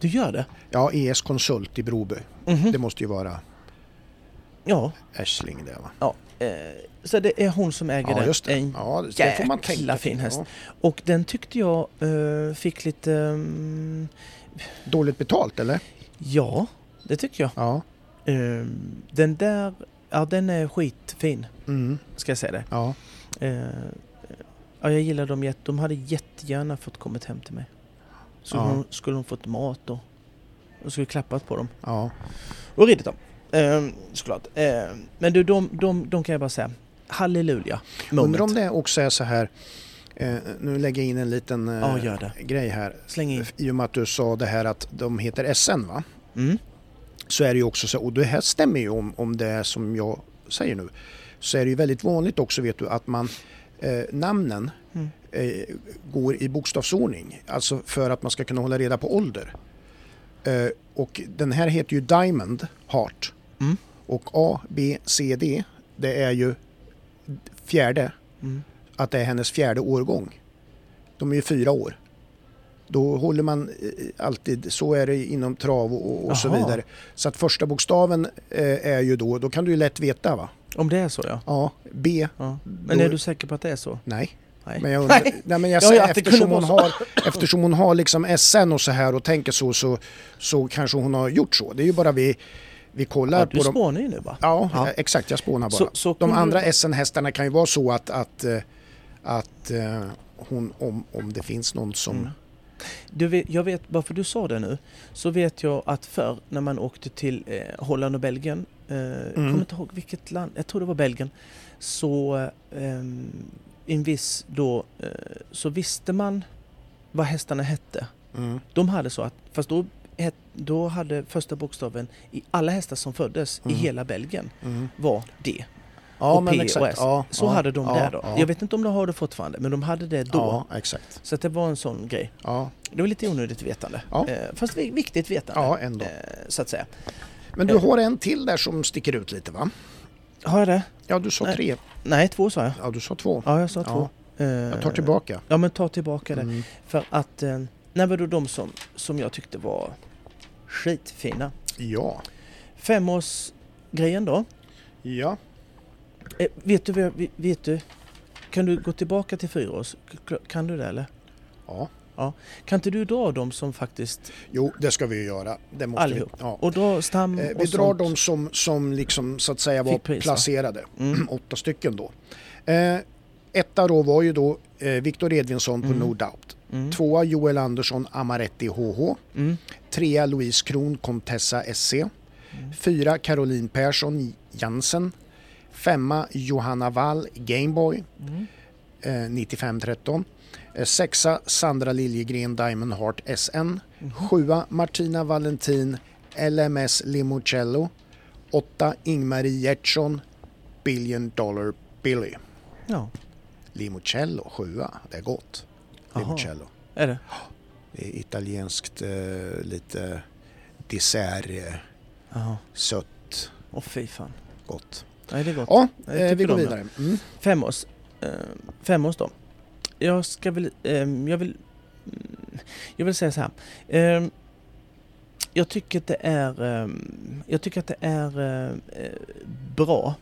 [SPEAKER 2] Du gör det?
[SPEAKER 1] Ja, ES Konsult i Broby.
[SPEAKER 2] Mhm.
[SPEAKER 1] Det måste ju vara
[SPEAKER 2] Ja.
[SPEAKER 1] Ashling det va?
[SPEAKER 2] ja. Eh, så det Eh, är hon som äger
[SPEAKER 1] Ja,
[SPEAKER 2] den.
[SPEAKER 1] just det.
[SPEAKER 2] En
[SPEAKER 1] Ja, det får
[SPEAKER 2] jäkla
[SPEAKER 1] man tänka på.
[SPEAKER 2] fin häst.
[SPEAKER 1] Ja.
[SPEAKER 2] Och den tyckte jag eh, fick lite... mm,
[SPEAKER 1] Dåligt betalt eller?
[SPEAKER 2] ja, det tycker jag.
[SPEAKER 1] Ja.
[SPEAKER 2] Eh, den där, ja den är skitfin,
[SPEAKER 1] Mm.
[SPEAKER 2] ska jag säga det.
[SPEAKER 1] Ja.
[SPEAKER 2] Eh, ja, jag gillar dem jätte... De hade jättegärna fått kommit hem till mig. Så
[SPEAKER 1] Ja.
[SPEAKER 2] hon, skulle hon fått mat och... Och skulle klappat på dem.
[SPEAKER 1] Ja.
[SPEAKER 2] Och ridit dem. Eh, såklart. Eh, men du, de, de, de kan jag bara säga. Halleluja.
[SPEAKER 1] Undrar om
[SPEAKER 2] moment.
[SPEAKER 1] det också är så här. Eh, nu lägger jag in en liten eh,
[SPEAKER 2] Ja, gör det. Mm.
[SPEAKER 1] grej här.
[SPEAKER 2] Släng in.
[SPEAKER 1] I och med att du sa det här att de heter SN va?
[SPEAKER 2] Mm.
[SPEAKER 1] så är det ju också så, och det här stämmer ju om, om det är som jag säger nu, så är det ju väldigt vanligt också vet du att man eh, namnen
[SPEAKER 2] Mm.
[SPEAKER 1] eh, går i bokstavsordning, alltså för att man ska kunna hålla reda på ålder. Eh, och den här heter ju Diamond Heart
[SPEAKER 2] Mm.
[SPEAKER 1] och A, B, C, D det är ju fjärde,
[SPEAKER 2] Mm.
[SPEAKER 1] att det är hennes fjärde årgång. De är ju fyra år. Då håller man eh, alltid, så är det inom trav och, och så
[SPEAKER 2] Jaha.
[SPEAKER 1] vidare. Så att första bokstaven eh, är ju då, då kan du ju lätt veta va?
[SPEAKER 2] Om det är så ja.
[SPEAKER 1] Ja, B,
[SPEAKER 2] ja. Men
[SPEAKER 1] Då-
[SPEAKER 2] är du säker på att det är så?
[SPEAKER 1] nej.
[SPEAKER 2] Nej.
[SPEAKER 1] Men jag undrar, nej. men jag
[SPEAKER 2] Ja,
[SPEAKER 1] säger,
[SPEAKER 2] ja, att det
[SPEAKER 1] eftersom,
[SPEAKER 2] kunde
[SPEAKER 1] hon
[SPEAKER 2] vara
[SPEAKER 1] har, eftersom hon har liksom SN och så här och tänker så, så, så kanske hon har gjort så. Det är ju bara vi, vi kollar
[SPEAKER 2] ja,
[SPEAKER 1] på
[SPEAKER 2] du
[SPEAKER 1] dem.
[SPEAKER 2] spånar ju nu va?
[SPEAKER 1] Ja,
[SPEAKER 2] Ja.
[SPEAKER 1] eh, exakt. Jag spånar bara.
[SPEAKER 2] Så- Mm. så
[SPEAKER 1] De
[SPEAKER 2] kunde du-
[SPEAKER 1] andra SN-hästarna kan ju vara så att, att, eh, att eh, hon, om, om det finns någon som...
[SPEAKER 2] Mm. Du vet, jag vet, varför du sa det nu, så vet jag att förr när man åkte till eh, Holland och Belgien, eh,
[SPEAKER 1] Mm.
[SPEAKER 2] jag kommer inte ihåg vilket land, jag tror det var Belgien, så eh, i en viss då, eh, så visste man vad hästarna hette.
[SPEAKER 1] Mm.
[SPEAKER 2] De hade så att, fast då, het, då hade första bokstaven i alla hästar som föddes i hela Belgien
[SPEAKER 1] Mm.
[SPEAKER 2] var D
[SPEAKER 1] Ja,
[SPEAKER 2] och
[SPEAKER 1] men
[SPEAKER 2] P
[SPEAKER 1] exakt.
[SPEAKER 2] och S.
[SPEAKER 1] Ja,
[SPEAKER 2] så
[SPEAKER 1] ja,
[SPEAKER 2] hade de
[SPEAKER 1] ja,
[SPEAKER 2] där då.
[SPEAKER 1] ja.
[SPEAKER 2] Jag vet inte om de har det fortfarande, men de hade det då.
[SPEAKER 1] Ja, exakt.
[SPEAKER 2] Så att det var en sån grej.
[SPEAKER 1] Ja,
[SPEAKER 2] Det var lite onödigt vetande.
[SPEAKER 1] Ja.
[SPEAKER 2] Eh, Fast vi- viktigt vetande.
[SPEAKER 1] ja ändå.
[SPEAKER 2] eh, Så att säga.
[SPEAKER 1] Men du har en till där som sticker ut lite va?
[SPEAKER 2] Har jag det?
[SPEAKER 1] Ja, du sa
[SPEAKER 2] Nej.
[SPEAKER 1] tre.
[SPEAKER 2] Nej, två sa jag.
[SPEAKER 1] Ja, du sa två.
[SPEAKER 2] Ja, jag sa
[SPEAKER 1] Ja.
[SPEAKER 2] två. Eh,
[SPEAKER 1] Jag tar tillbaka.
[SPEAKER 2] Ja, men ta tillbaka det.
[SPEAKER 1] Mm.
[SPEAKER 2] För att... eh, Nej, men då de som, som jag tyckte var skitfina.
[SPEAKER 1] Ja.
[SPEAKER 2] Femårsgrejen då.
[SPEAKER 1] Ja.
[SPEAKER 2] Eh, Vet du, vad jag- vet du? Kan du gå tillbaka till fyra års? Kan du det eller?
[SPEAKER 1] ja.
[SPEAKER 2] Kan inte du dra dem som faktiskt...
[SPEAKER 1] Jo, det ska vi ju göra. Det måste
[SPEAKER 2] Allihop.
[SPEAKER 1] Vi, ja.
[SPEAKER 2] Och dra stam
[SPEAKER 1] Eh,
[SPEAKER 2] och
[SPEAKER 1] Vi drar
[SPEAKER 2] sånt.
[SPEAKER 1] de som, som liksom, så att säga var
[SPEAKER 2] Fick Mm. pris, va?
[SPEAKER 1] placerade. Åtta stycken då. Eh, etta då var ju då eh, Viktor Edvinsson
[SPEAKER 2] Mm.
[SPEAKER 1] på No Doubt. Tvåa Joel Andersson Amaretti HH.
[SPEAKER 2] Mm.
[SPEAKER 1] Trea Louise Kron Contessa SC.
[SPEAKER 2] Mm.
[SPEAKER 1] Fyra Caroline Persson Jansen. Femma Johanna Wall Gameboy. Eh, 9513. Eh, Sexa Sandra Liljegren Diamond Heart SN.
[SPEAKER 2] Mhm.
[SPEAKER 1] Sjua Martina Valentin LMS Limoncello. Åtta Ingmarie Gertsson Billion Dollar Billy.
[SPEAKER 2] Ja,
[SPEAKER 1] Limoncello sjua, det är gott.
[SPEAKER 2] Aha.
[SPEAKER 1] Limoncello.
[SPEAKER 2] är det?
[SPEAKER 1] Det är italienskt eh, lite dessert, eh,
[SPEAKER 2] Jaha.
[SPEAKER 1] sött,
[SPEAKER 2] Åh fy fan.
[SPEAKER 1] gott.
[SPEAKER 2] Nej, det är gott.
[SPEAKER 1] Ja,
[SPEAKER 2] Jag
[SPEAKER 1] eh, vi
[SPEAKER 2] tycker
[SPEAKER 1] går
[SPEAKER 2] om det.
[SPEAKER 1] vidare. Mm.
[SPEAKER 2] Femårs. Eh, femårs då. Jag ska väl... ehm, jag vill... mm, Jag vill säga så här. Ehm, jag tycker att det är... ehm, jag tycker att det är eh, eh, bra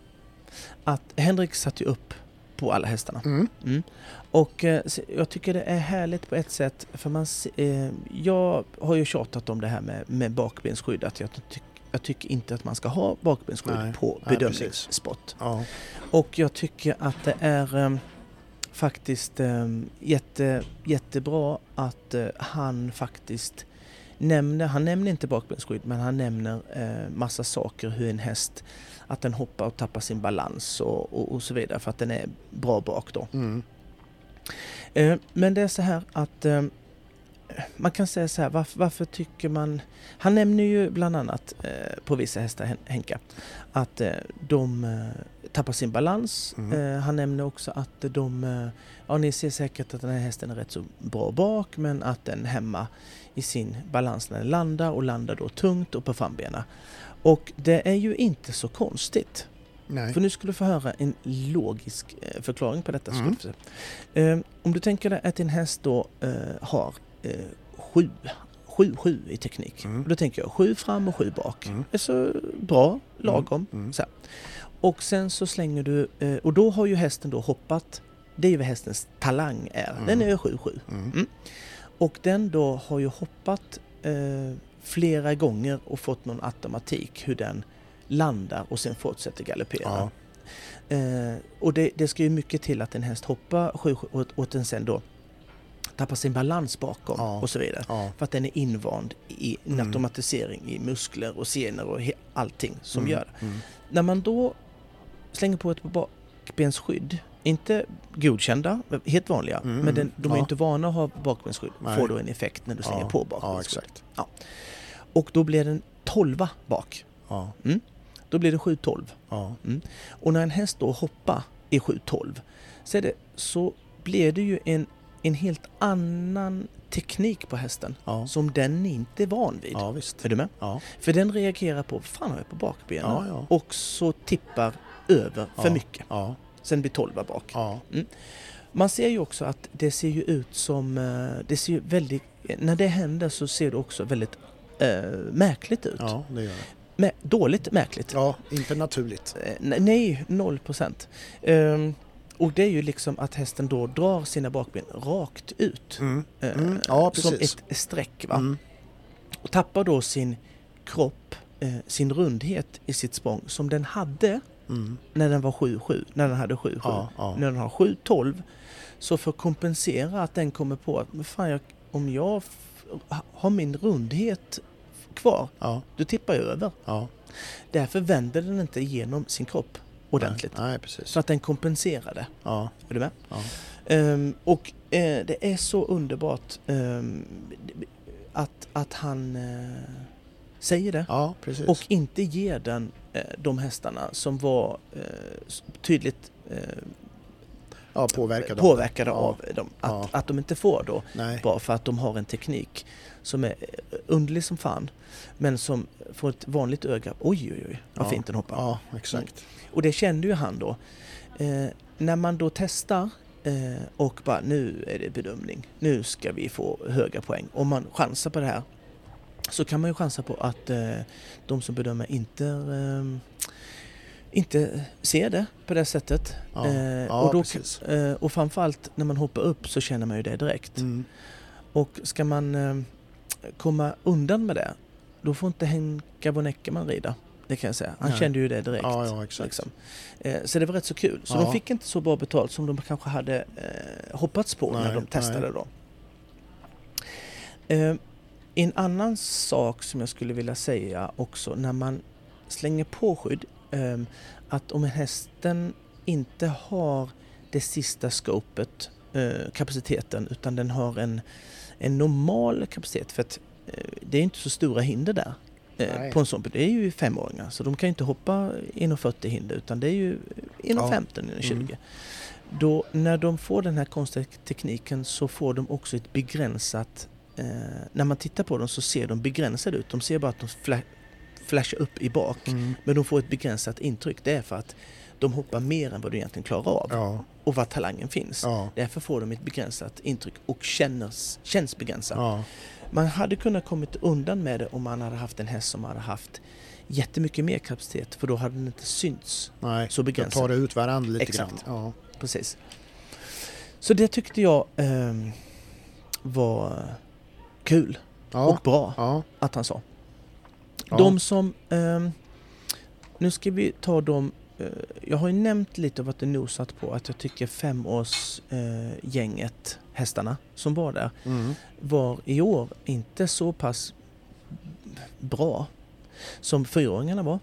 [SPEAKER 2] att Henrik satte ju upp på alla hästarna.
[SPEAKER 1] Mm.
[SPEAKER 2] Och eh, se- jag tycker det är härligt på ett sätt för man se- eh, Jag har ju tjatat om det här med, med bakbensskydd att jag, tyck, jag tycker inte att man ska ha bakbensskydd
[SPEAKER 1] Nej,
[SPEAKER 2] på
[SPEAKER 1] nej,
[SPEAKER 2] bedömningsspott.
[SPEAKER 1] Ja.
[SPEAKER 2] Och jag tycker att det är eh, faktiskt eh, jätte, jättebra att eh, han faktiskt nämner, han nämner inte bakbensskydd men han nämner eh, massa saker hur en häst att den hoppar och tappar sin balans och, och, och så vidare för att den är bra bak då.
[SPEAKER 1] Mm.
[SPEAKER 2] Eh, Men det är så här att eh, man kan säga så här, varför, varför tycker man... Han nämner ju bland annat eh, på vissa hästar, Hen- Henka, att eh, de eh, tappar sin balans. Eh, han nämner också att de, eh, ja ni ser säkert att den här hästen är rätt så bra bak men att den hämmar i sin balans när den landar och landar då tungt och på frambenen. Och det är ju inte så konstigt.
[SPEAKER 1] Nej.
[SPEAKER 2] För nu skulle du få höra en logisk eh, förklaring på detta.
[SPEAKER 1] Mm.
[SPEAKER 2] skulle du få se. Eh, Om du tänker dig att din häst då eh, har eh, sju, sju, sju i teknik.
[SPEAKER 1] Mm.
[SPEAKER 2] Och Då tänker jag sju fram och sju bak.
[SPEAKER 1] Mm.
[SPEAKER 2] Det är så bra, lagom.
[SPEAKER 1] Mm.
[SPEAKER 2] Så här. Och sen så slänger du, eh, och då har ju hästen då hoppat. Det är ju vad hästens talang är. Den är ju 7-7.
[SPEAKER 1] Mm.
[SPEAKER 2] Och den då har ju hoppat eh, flera gånger och fått någon automatik hur den landar och sen fortsätter galoppera.
[SPEAKER 1] Ja.
[SPEAKER 2] Eh, och det, det ska ju mycket till att en häst hoppar sju, sju- och, och den sen då tappar sin balans bakom
[SPEAKER 1] Ja. Mm.
[SPEAKER 2] och så vidare.
[SPEAKER 1] Ja.
[SPEAKER 2] För att den är invand i en automatisering i muskler och senor och he, allting som
[SPEAKER 1] Mm.
[SPEAKER 2] gör det. När man då slänger på ett bakbensskydd, inte godkända, helt vanliga, men den, de är
[SPEAKER 1] Mm, Ja.
[SPEAKER 2] inte vana att ha bakbensskydd,
[SPEAKER 1] Nej.
[SPEAKER 2] får då en effekt när du slänger
[SPEAKER 1] Ja.
[SPEAKER 2] på
[SPEAKER 1] Ja,
[SPEAKER 2] bakbensskydd.
[SPEAKER 1] exakt.
[SPEAKER 2] Ja. Och då blir den 12 bak.
[SPEAKER 1] Ja.
[SPEAKER 2] Mm. Då blir det 7-12.
[SPEAKER 1] Ja.
[SPEAKER 2] Mm. Och när en häst då hoppar i 7-12 så, är det, så blir det ju en, en helt annan teknik på hästen
[SPEAKER 1] Ja.
[SPEAKER 2] som den inte är van vid.
[SPEAKER 1] ja, visst.
[SPEAKER 2] Är du med?
[SPEAKER 1] Ja.
[SPEAKER 2] För den reagerar på, fan har jag på bakbenen?
[SPEAKER 1] Ja, ja.
[SPEAKER 2] Och så tippar över för
[SPEAKER 1] ja.
[SPEAKER 2] mycket.
[SPEAKER 1] Ja.
[SPEAKER 2] Sen blir 12 bak.
[SPEAKER 1] Ja.
[SPEAKER 2] Man ser ju också att det ser ju ut som, eh, det ser ju väldigt, när det händer så ser det också väldigt eh, märkligt ut.
[SPEAKER 1] ja, det gör det.
[SPEAKER 2] Mä- dåligt märkligt.
[SPEAKER 1] Ja, inte naturligt.
[SPEAKER 2] Eh, ne- Nej, 0 procent. Ehm, och det är ju liksom att hästen då drar sina bakben rakt ut.
[SPEAKER 1] Mm.
[SPEAKER 2] eh,
[SPEAKER 1] Mm, ja,
[SPEAKER 2] som
[SPEAKER 1] precis.
[SPEAKER 2] ett streck. Va?
[SPEAKER 1] Mm.
[SPEAKER 2] Och tappar då sin kropp, eh, sin rundhet i sitt språng som den hade
[SPEAKER 1] Mm.
[SPEAKER 2] när den var 7-7, när den hade 7-7.
[SPEAKER 1] Ja, ja.
[SPEAKER 2] När den har 7-12 så för att kompensera att den kommer på att men fan, jag, om jag f- ha- har min rundhet kvar,
[SPEAKER 1] Ja.
[SPEAKER 2] då tippar jag över.
[SPEAKER 1] Ja.
[SPEAKER 2] Därför vänder den inte igenom sin kropp ordentligt.
[SPEAKER 1] Nej, nej precis.
[SPEAKER 2] Så att den kompenserade.
[SPEAKER 1] Ja.
[SPEAKER 2] Är du med?
[SPEAKER 1] Ja.
[SPEAKER 2] Ehm, och eh, det är så underbart ehm, att, att han eh, säger det.
[SPEAKER 1] Ja, precis.
[SPEAKER 2] Och inte ger den eh, de hästarna som var eh, s- tydligt eh,
[SPEAKER 1] ja, påverkad av
[SPEAKER 2] påverkade
[SPEAKER 1] det.
[SPEAKER 2] av dem. Att,
[SPEAKER 1] Ja.
[SPEAKER 2] att de inte får då.
[SPEAKER 1] Ja. Nej.
[SPEAKER 2] Bara för att de har en teknik som är eh, underlig som fan. Men som får ett vanligt öga, oj oj oj, vad
[SPEAKER 1] Ja.
[SPEAKER 2] fint den hoppar.
[SPEAKER 1] Ja, exakt.
[SPEAKER 2] Och det kände ju han då. Eh, när man då testar eh, och bara nu är det bedömning, nu ska vi få höga poäng. Om man chansar på det här så kan man ju chansa på att eh, de som bedömer inte, eh, inte ser det på det sättet.
[SPEAKER 1] Ja.
[SPEAKER 2] Eh,
[SPEAKER 1] Ja,
[SPEAKER 2] och, då,
[SPEAKER 1] precis.
[SPEAKER 2] eh, och framförallt när man hoppar upp så känner man ju det direkt.
[SPEAKER 1] Mm.
[SPEAKER 2] Och ska man eh, komma undan med det, då får inte Henka von Eckermann rida. Det kan jag säga. Han
[SPEAKER 1] Nej.
[SPEAKER 2] kände ju det direkt.
[SPEAKER 1] Ja, ja, exakt.
[SPEAKER 2] Liksom. Eh, Så det var rätt så kul. Så
[SPEAKER 1] Ja.
[SPEAKER 2] de fick inte så bra betalt som de kanske hade eh, hoppats på
[SPEAKER 1] Nej,
[SPEAKER 2] när de testade
[SPEAKER 1] nej.
[SPEAKER 2] då. Eh, en annan sak som jag skulle vilja säga också när man slänger på skydd. Eh, att om hästen inte har det sista skopet, eh, kapaciteten, utan den har en, en normal kapacitet. För att eh, det är inte så stora hinder där. Eh,
[SPEAKER 1] Nej.
[SPEAKER 2] på en sån, det är ju femåringar, så de kan ju inte hoppa 1,40 hinder utan det är ju 1,15, 1,20.
[SPEAKER 1] Mm.
[SPEAKER 2] Då, när de får den här konstiga tekniken så får de också ett begränsat... Eh, när man tittar på dem så ser de begränsade ut. De ser bara att de fla- flashar upp i bak.
[SPEAKER 1] Mm.
[SPEAKER 2] Men de får ett begränsat intryck. Det är för att de hoppar mer än vad du egentligen klarar av
[SPEAKER 1] Ja.
[SPEAKER 2] och var talangen finns.
[SPEAKER 1] Ja.
[SPEAKER 2] Därför får de ett begränsat intryck och känns, känns begränsat.
[SPEAKER 1] Ja.
[SPEAKER 2] Man hade kunnat kommit undan med det om man hade haft en häst som hade haft jättemycket mer kapacitet för då hade den inte synts.
[SPEAKER 1] Nej.
[SPEAKER 2] Så
[SPEAKER 1] Jag
[SPEAKER 2] begränsat.
[SPEAKER 1] tar det ut varandra lite
[SPEAKER 2] Exakt.
[SPEAKER 1] grann. Ja.
[SPEAKER 2] Precis. Så det tyckte jag ehm, var kul
[SPEAKER 1] Ja.
[SPEAKER 2] och bra
[SPEAKER 1] Ja.
[SPEAKER 2] att han sa.
[SPEAKER 1] Ja.
[SPEAKER 2] De som... ehm, nu ska vi ta dem... eh, jag har ju nämnt lite och varit och nosat på att jag tycker femårsgänget, eh, gänget, hästarna som var där,
[SPEAKER 1] Mm.
[SPEAKER 2] var i år inte så pass bra som fyraåringarna var.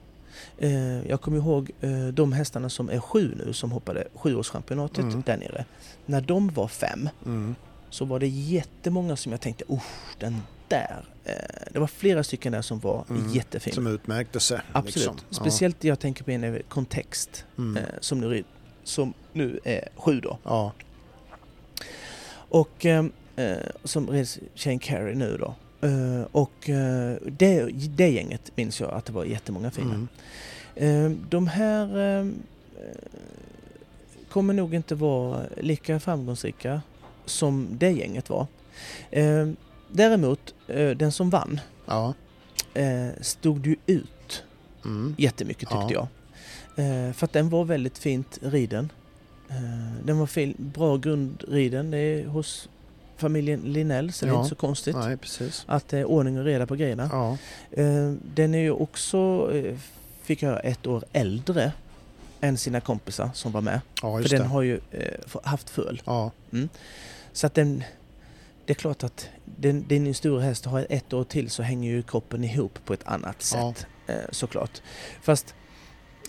[SPEAKER 2] Eh, Jag kommer ihåg eh, de hästarna som är sju nu som hoppade sjuårschampionatet
[SPEAKER 1] Mm.
[SPEAKER 2] där nere. När de var fem
[SPEAKER 1] Mm.
[SPEAKER 2] så var det jättemånga som jag tänkte oh, den där, eh, det var flera stycken där som var
[SPEAKER 1] Mm.
[SPEAKER 2] jättefina.
[SPEAKER 1] som utmärkte sig.
[SPEAKER 2] Absolut. Speciellt det jag tänker på en eh, kontext
[SPEAKER 1] Ja. Mm.
[SPEAKER 2] eh, som, nu, som nu är sju då.
[SPEAKER 1] ja.
[SPEAKER 2] Och eh, eh, som reds Shane Carey nu då. Eh, och eh, det, det gänget minns jag att det var jättemånga fina.
[SPEAKER 1] Mm.
[SPEAKER 2] Eh, de här eh, eh, kommer nog inte vara lika framgångsrika som det gänget var. Eh, däremot, eh, den som vann
[SPEAKER 1] Ja.
[SPEAKER 2] eh, stod ju ut
[SPEAKER 1] Mm.
[SPEAKER 2] jättemycket tyckte
[SPEAKER 1] Ja.
[SPEAKER 2] jag. Eh, för att den var väldigt fint riden. Eh, den var fin, bra grundriden. Det är hos familjen Linell så det är
[SPEAKER 1] Ja.
[SPEAKER 2] inte så konstigt.
[SPEAKER 1] Nej, precis.
[SPEAKER 2] Att det är ordning och reda på grejerna.
[SPEAKER 1] Ja.
[SPEAKER 2] Eh, den är ju också, eh, fick jag höra, ett år äldre än sina kompisar som var med.
[SPEAKER 1] ja,
[SPEAKER 2] För
[SPEAKER 1] just
[SPEAKER 2] den
[SPEAKER 1] det.
[SPEAKER 2] har ju eh, f- haft föl.
[SPEAKER 1] Ja.
[SPEAKER 2] Så att den, det är klart att den, din stora häst har ett år till så hänger ju kroppen ihop på ett annat
[SPEAKER 1] Ja.
[SPEAKER 2] sätt eh, såklart. Fast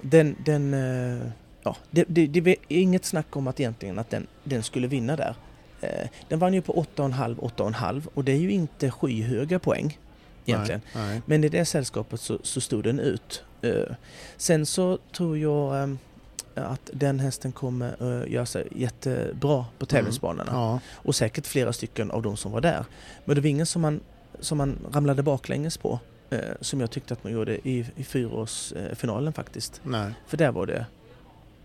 [SPEAKER 2] den, den eh, ja, det, det, det är inget snack om att egentligen att den, den skulle vinna där. Eh, den vann ju på 8,5, 8,5 och det är ju inte skyhöga poäng egentligen.
[SPEAKER 1] Nej. Nej.
[SPEAKER 2] Men i det sällskapet så, så stod den ut. Eh, Sen så tror jag eh, att den hästen kommer eh, göra sig jättebra på tävlingsbanorna.
[SPEAKER 1] Mm. Ja.
[SPEAKER 2] Och säkert flera stycken av de som var där. Men det var ingen som man, som man ramlade baklänges på. eh, Som jag tyckte att man gjorde i, i fyraårsfinalen faktiskt.
[SPEAKER 1] Nej.
[SPEAKER 2] För där var det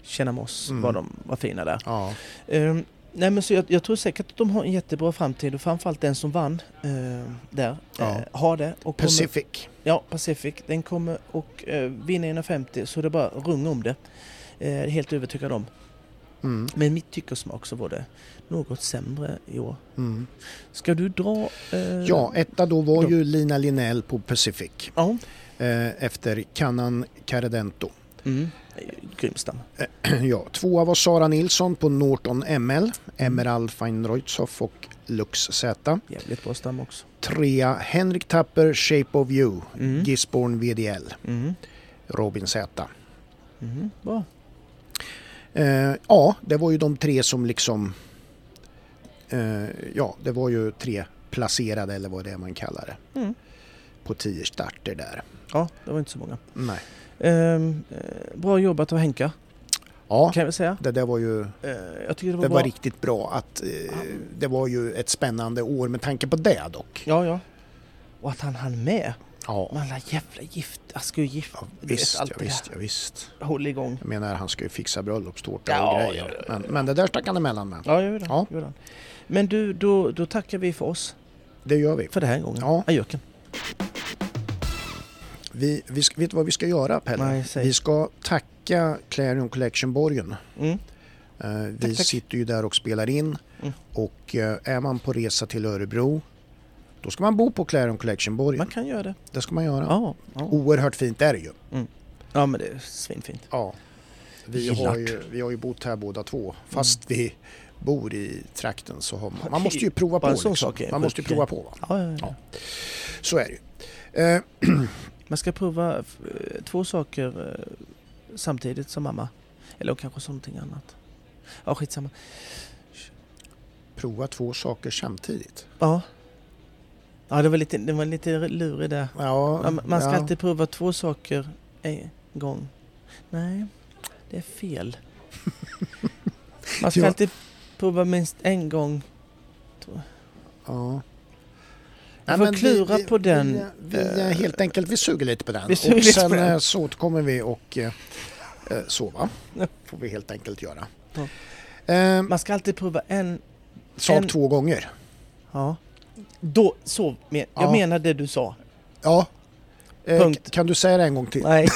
[SPEAKER 2] Känna Moss
[SPEAKER 1] Mm.
[SPEAKER 2] var de var fina där.
[SPEAKER 1] Ja.
[SPEAKER 2] Ehm, nej men så jag, jag tror säkert att de har en jättebra framtid och framförallt den som vann eh, där
[SPEAKER 1] Ja.
[SPEAKER 2] eh, har det. Och kommer-
[SPEAKER 1] Pacific.
[SPEAKER 2] Ja, Pacific. Den kommer och eh, vinner 1,50 så det är bara runga om det. Eh, helt övertygad om.
[SPEAKER 1] Mm.
[SPEAKER 2] Men mitt tycke och smak så var det något sämre i år.
[SPEAKER 1] Mm.
[SPEAKER 2] Ska du dra? Eh,
[SPEAKER 1] Ja, etta då var
[SPEAKER 2] Då-
[SPEAKER 1] ju Lina Linnell på Pacific
[SPEAKER 2] Ja.
[SPEAKER 1] eh, efter Canan Caredento.
[SPEAKER 2] Mm. Eh, Grymstam.
[SPEAKER 1] Ja, tvåa var Sara Nilsson på Norton ML,
[SPEAKER 2] Mm.
[SPEAKER 1] Emerald Feinreutzoff och Lux Z.
[SPEAKER 2] Jävligt bra stam också.
[SPEAKER 1] Trea Henrik Tapper, Shape of You,
[SPEAKER 2] Mm.
[SPEAKER 1] Gisborne VDL,
[SPEAKER 2] Mm.
[SPEAKER 1] Robin Z.
[SPEAKER 2] Mm. Bra.
[SPEAKER 1] Eh, ja, det var ju de tre som liksom... Eh, ja, det var ju tre placerade eller vad det är man kallar det.
[SPEAKER 2] Mm.
[SPEAKER 1] På tio starter där.
[SPEAKER 2] Ja, det var inte så många.
[SPEAKER 1] Nej.
[SPEAKER 2] Ehm, eh, bra jobbat av Henka,
[SPEAKER 1] Ja,
[SPEAKER 2] kan jag väl säga.
[SPEAKER 1] det där var ju...
[SPEAKER 2] Eh, jag tycker det var
[SPEAKER 1] Det
[SPEAKER 2] bra.
[SPEAKER 1] var riktigt bra att eh, det var ju ett spännande år med tanke på det dock.
[SPEAKER 2] Ja, ja. Och att han hann med.
[SPEAKER 1] Ja,
[SPEAKER 2] Alla jävla gift... Jag ska ju gifta...
[SPEAKER 1] ja
[SPEAKER 2] Du vet,
[SPEAKER 1] visst,
[SPEAKER 2] allt
[SPEAKER 1] ja,
[SPEAKER 2] det
[SPEAKER 1] visst, ja, visst.
[SPEAKER 2] där. Håll igång.
[SPEAKER 1] Jag menar, han ska ju fixa bröllopstårta
[SPEAKER 2] Ja,
[SPEAKER 1] och
[SPEAKER 2] ja,
[SPEAKER 1] grejer.
[SPEAKER 2] ja,
[SPEAKER 1] Men, men det där stack han emellan med.
[SPEAKER 2] Ja, jag gjorde det.
[SPEAKER 1] Ja.
[SPEAKER 2] Gjorde han. Men du, då, då tackar vi för oss
[SPEAKER 1] Det gör vi.
[SPEAKER 2] för den här gången.
[SPEAKER 1] Ja.
[SPEAKER 2] Ajöken.
[SPEAKER 1] vi, vi ska, vet du vad vi ska göra Pelle?
[SPEAKER 2] Nej, säg.
[SPEAKER 1] vi ska tacka Clarion Collection-borgen.
[SPEAKER 2] Mm.
[SPEAKER 1] Eh, vi
[SPEAKER 2] Tack, tack.
[SPEAKER 1] sitter ju där och spelar in.
[SPEAKER 2] Mm.
[SPEAKER 1] Och eh, är man på resa till Örebro då ska man bo på Clarion Collection-borgen.
[SPEAKER 2] Man kan göra det.
[SPEAKER 1] Det ska man göra.
[SPEAKER 2] Ja, ja.
[SPEAKER 1] Oerhört fint är det ju.
[SPEAKER 2] ja men det är svinfint.
[SPEAKER 1] Ja. Vi
[SPEAKER 2] Gillar
[SPEAKER 1] har,
[SPEAKER 2] det. Mm.
[SPEAKER 1] ju, vi har ju bott här båda två. Fast vi bor i trakten så har man, man måste ju prova på.
[SPEAKER 2] Bara en sån
[SPEAKER 1] Liksom.
[SPEAKER 2] sak är
[SPEAKER 1] Man måste ju
[SPEAKER 2] sjuk
[SPEAKER 1] prova
[SPEAKER 2] grej.
[SPEAKER 1] på. Va?
[SPEAKER 2] Ja, ja, ja.
[SPEAKER 1] Ja. Så är det ju. Eh,
[SPEAKER 2] Man ska prova eh, två saker eh, samtidigt som mamma. Eller kanske som någonting annat. Ja, skitsamma.
[SPEAKER 1] prova två saker samtidigt.
[SPEAKER 2] Ja. Ja, det var lite, det var lite lurig där.
[SPEAKER 1] Ja,
[SPEAKER 2] Ja, man ska
[SPEAKER 1] ja.
[SPEAKER 2] alltid prova två saker en gång. Nej, det är fel. Man ska
[SPEAKER 1] Ja.
[SPEAKER 2] alltid prova minst en gång.
[SPEAKER 1] Ja.
[SPEAKER 2] Jag
[SPEAKER 1] Nej,
[SPEAKER 2] får
[SPEAKER 1] men
[SPEAKER 2] klura på den.
[SPEAKER 1] Vi, vi, eh, helt enkelt, vi suger lite på den.
[SPEAKER 2] Vi suger
[SPEAKER 1] och
[SPEAKER 2] lite
[SPEAKER 1] sen
[SPEAKER 2] på den.
[SPEAKER 1] eh, så återkommer vi och eh, eh, sova.
[SPEAKER 2] Ja.
[SPEAKER 1] får vi helt enkelt göra.
[SPEAKER 2] Ja.
[SPEAKER 1] Eh,
[SPEAKER 2] Man ska alltid prova en...
[SPEAKER 1] Saab
[SPEAKER 2] en-
[SPEAKER 1] två gånger.
[SPEAKER 2] Ja. Då, så, men, jag
[SPEAKER 1] Ja.
[SPEAKER 2] menar det du sa.
[SPEAKER 1] Ja. Eh,
[SPEAKER 2] Punkt.
[SPEAKER 1] k- Kan du säga det en gång till?
[SPEAKER 2] Nej,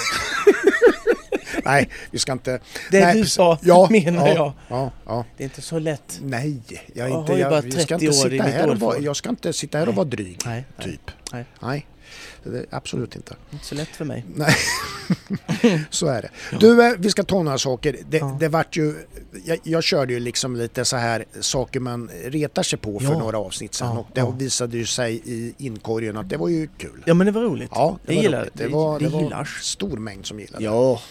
[SPEAKER 1] Nej, vi ska inte...
[SPEAKER 2] det
[SPEAKER 1] Nej,
[SPEAKER 2] du
[SPEAKER 1] precis.
[SPEAKER 2] sa
[SPEAKER 1] Ja,
[SPEAKER 2] menar
[SPEAKER 1] ja,
[SPEAKER 2] jag.
[SPEAKER 1] Ja, ja.
[SPEAKER 2] Det är inte så lätt.
[SPEAKER 1] Nej, jag, är
[SPEAKER 2] Jag
[SPEAKER 1] inte,
[SPEAKER 2] har ju bara
[SPEAKER 1] jag, vi ska
[SPEAKER 2] 30
[SPEAKER 1] inte
[SPEAKER 2] år i
[SPEAKER 1] sitta
[SPEAKER 2] mitt
[SPEAKER 1] här och vara,
[SPEAKER 2] ordförråd.
[SPEAKER 1] jag ska inte sitta här och vara dryg.
[SPEAKER 2] Nej, nej.
[SPEAKER 1] Typ.
[SPEAKER 2] Nej.
[SPEAKER 1] Nej, det är absolut inte.
[SPEAKER 2] Inte så lätt för mig.
[SPEAKER 1] Nej, så är det. Du, eh, vi ska ta några saker. Det,
[SPEAKER 2] Ja.
[SPEAKER 1] det vart ju, jag, jag körde ju liksom lite så här saker man retar sig på för
[SPEAKER 2] Ja.
[SPEAKER 1] några avsnitt sedan
[SPEAKER 2] Ja,
[SPEAKER 1] och det
[SPEAKER 2] ja.
[SPEAKER 1] visade ju sig i inkorgen att det var ju kul.
[SPEAKER 2] Ja men det var roligt.
[SPEAKER 1] Ja,
[SPEAKER 2] det jag gillar
[SPEAKER 1] roligt. det. Var, det, var en
[SPEAKER 2] gillars.
[SPEAKER 1] stor mängd som gillade det.
[SPEAKER 2] Ja.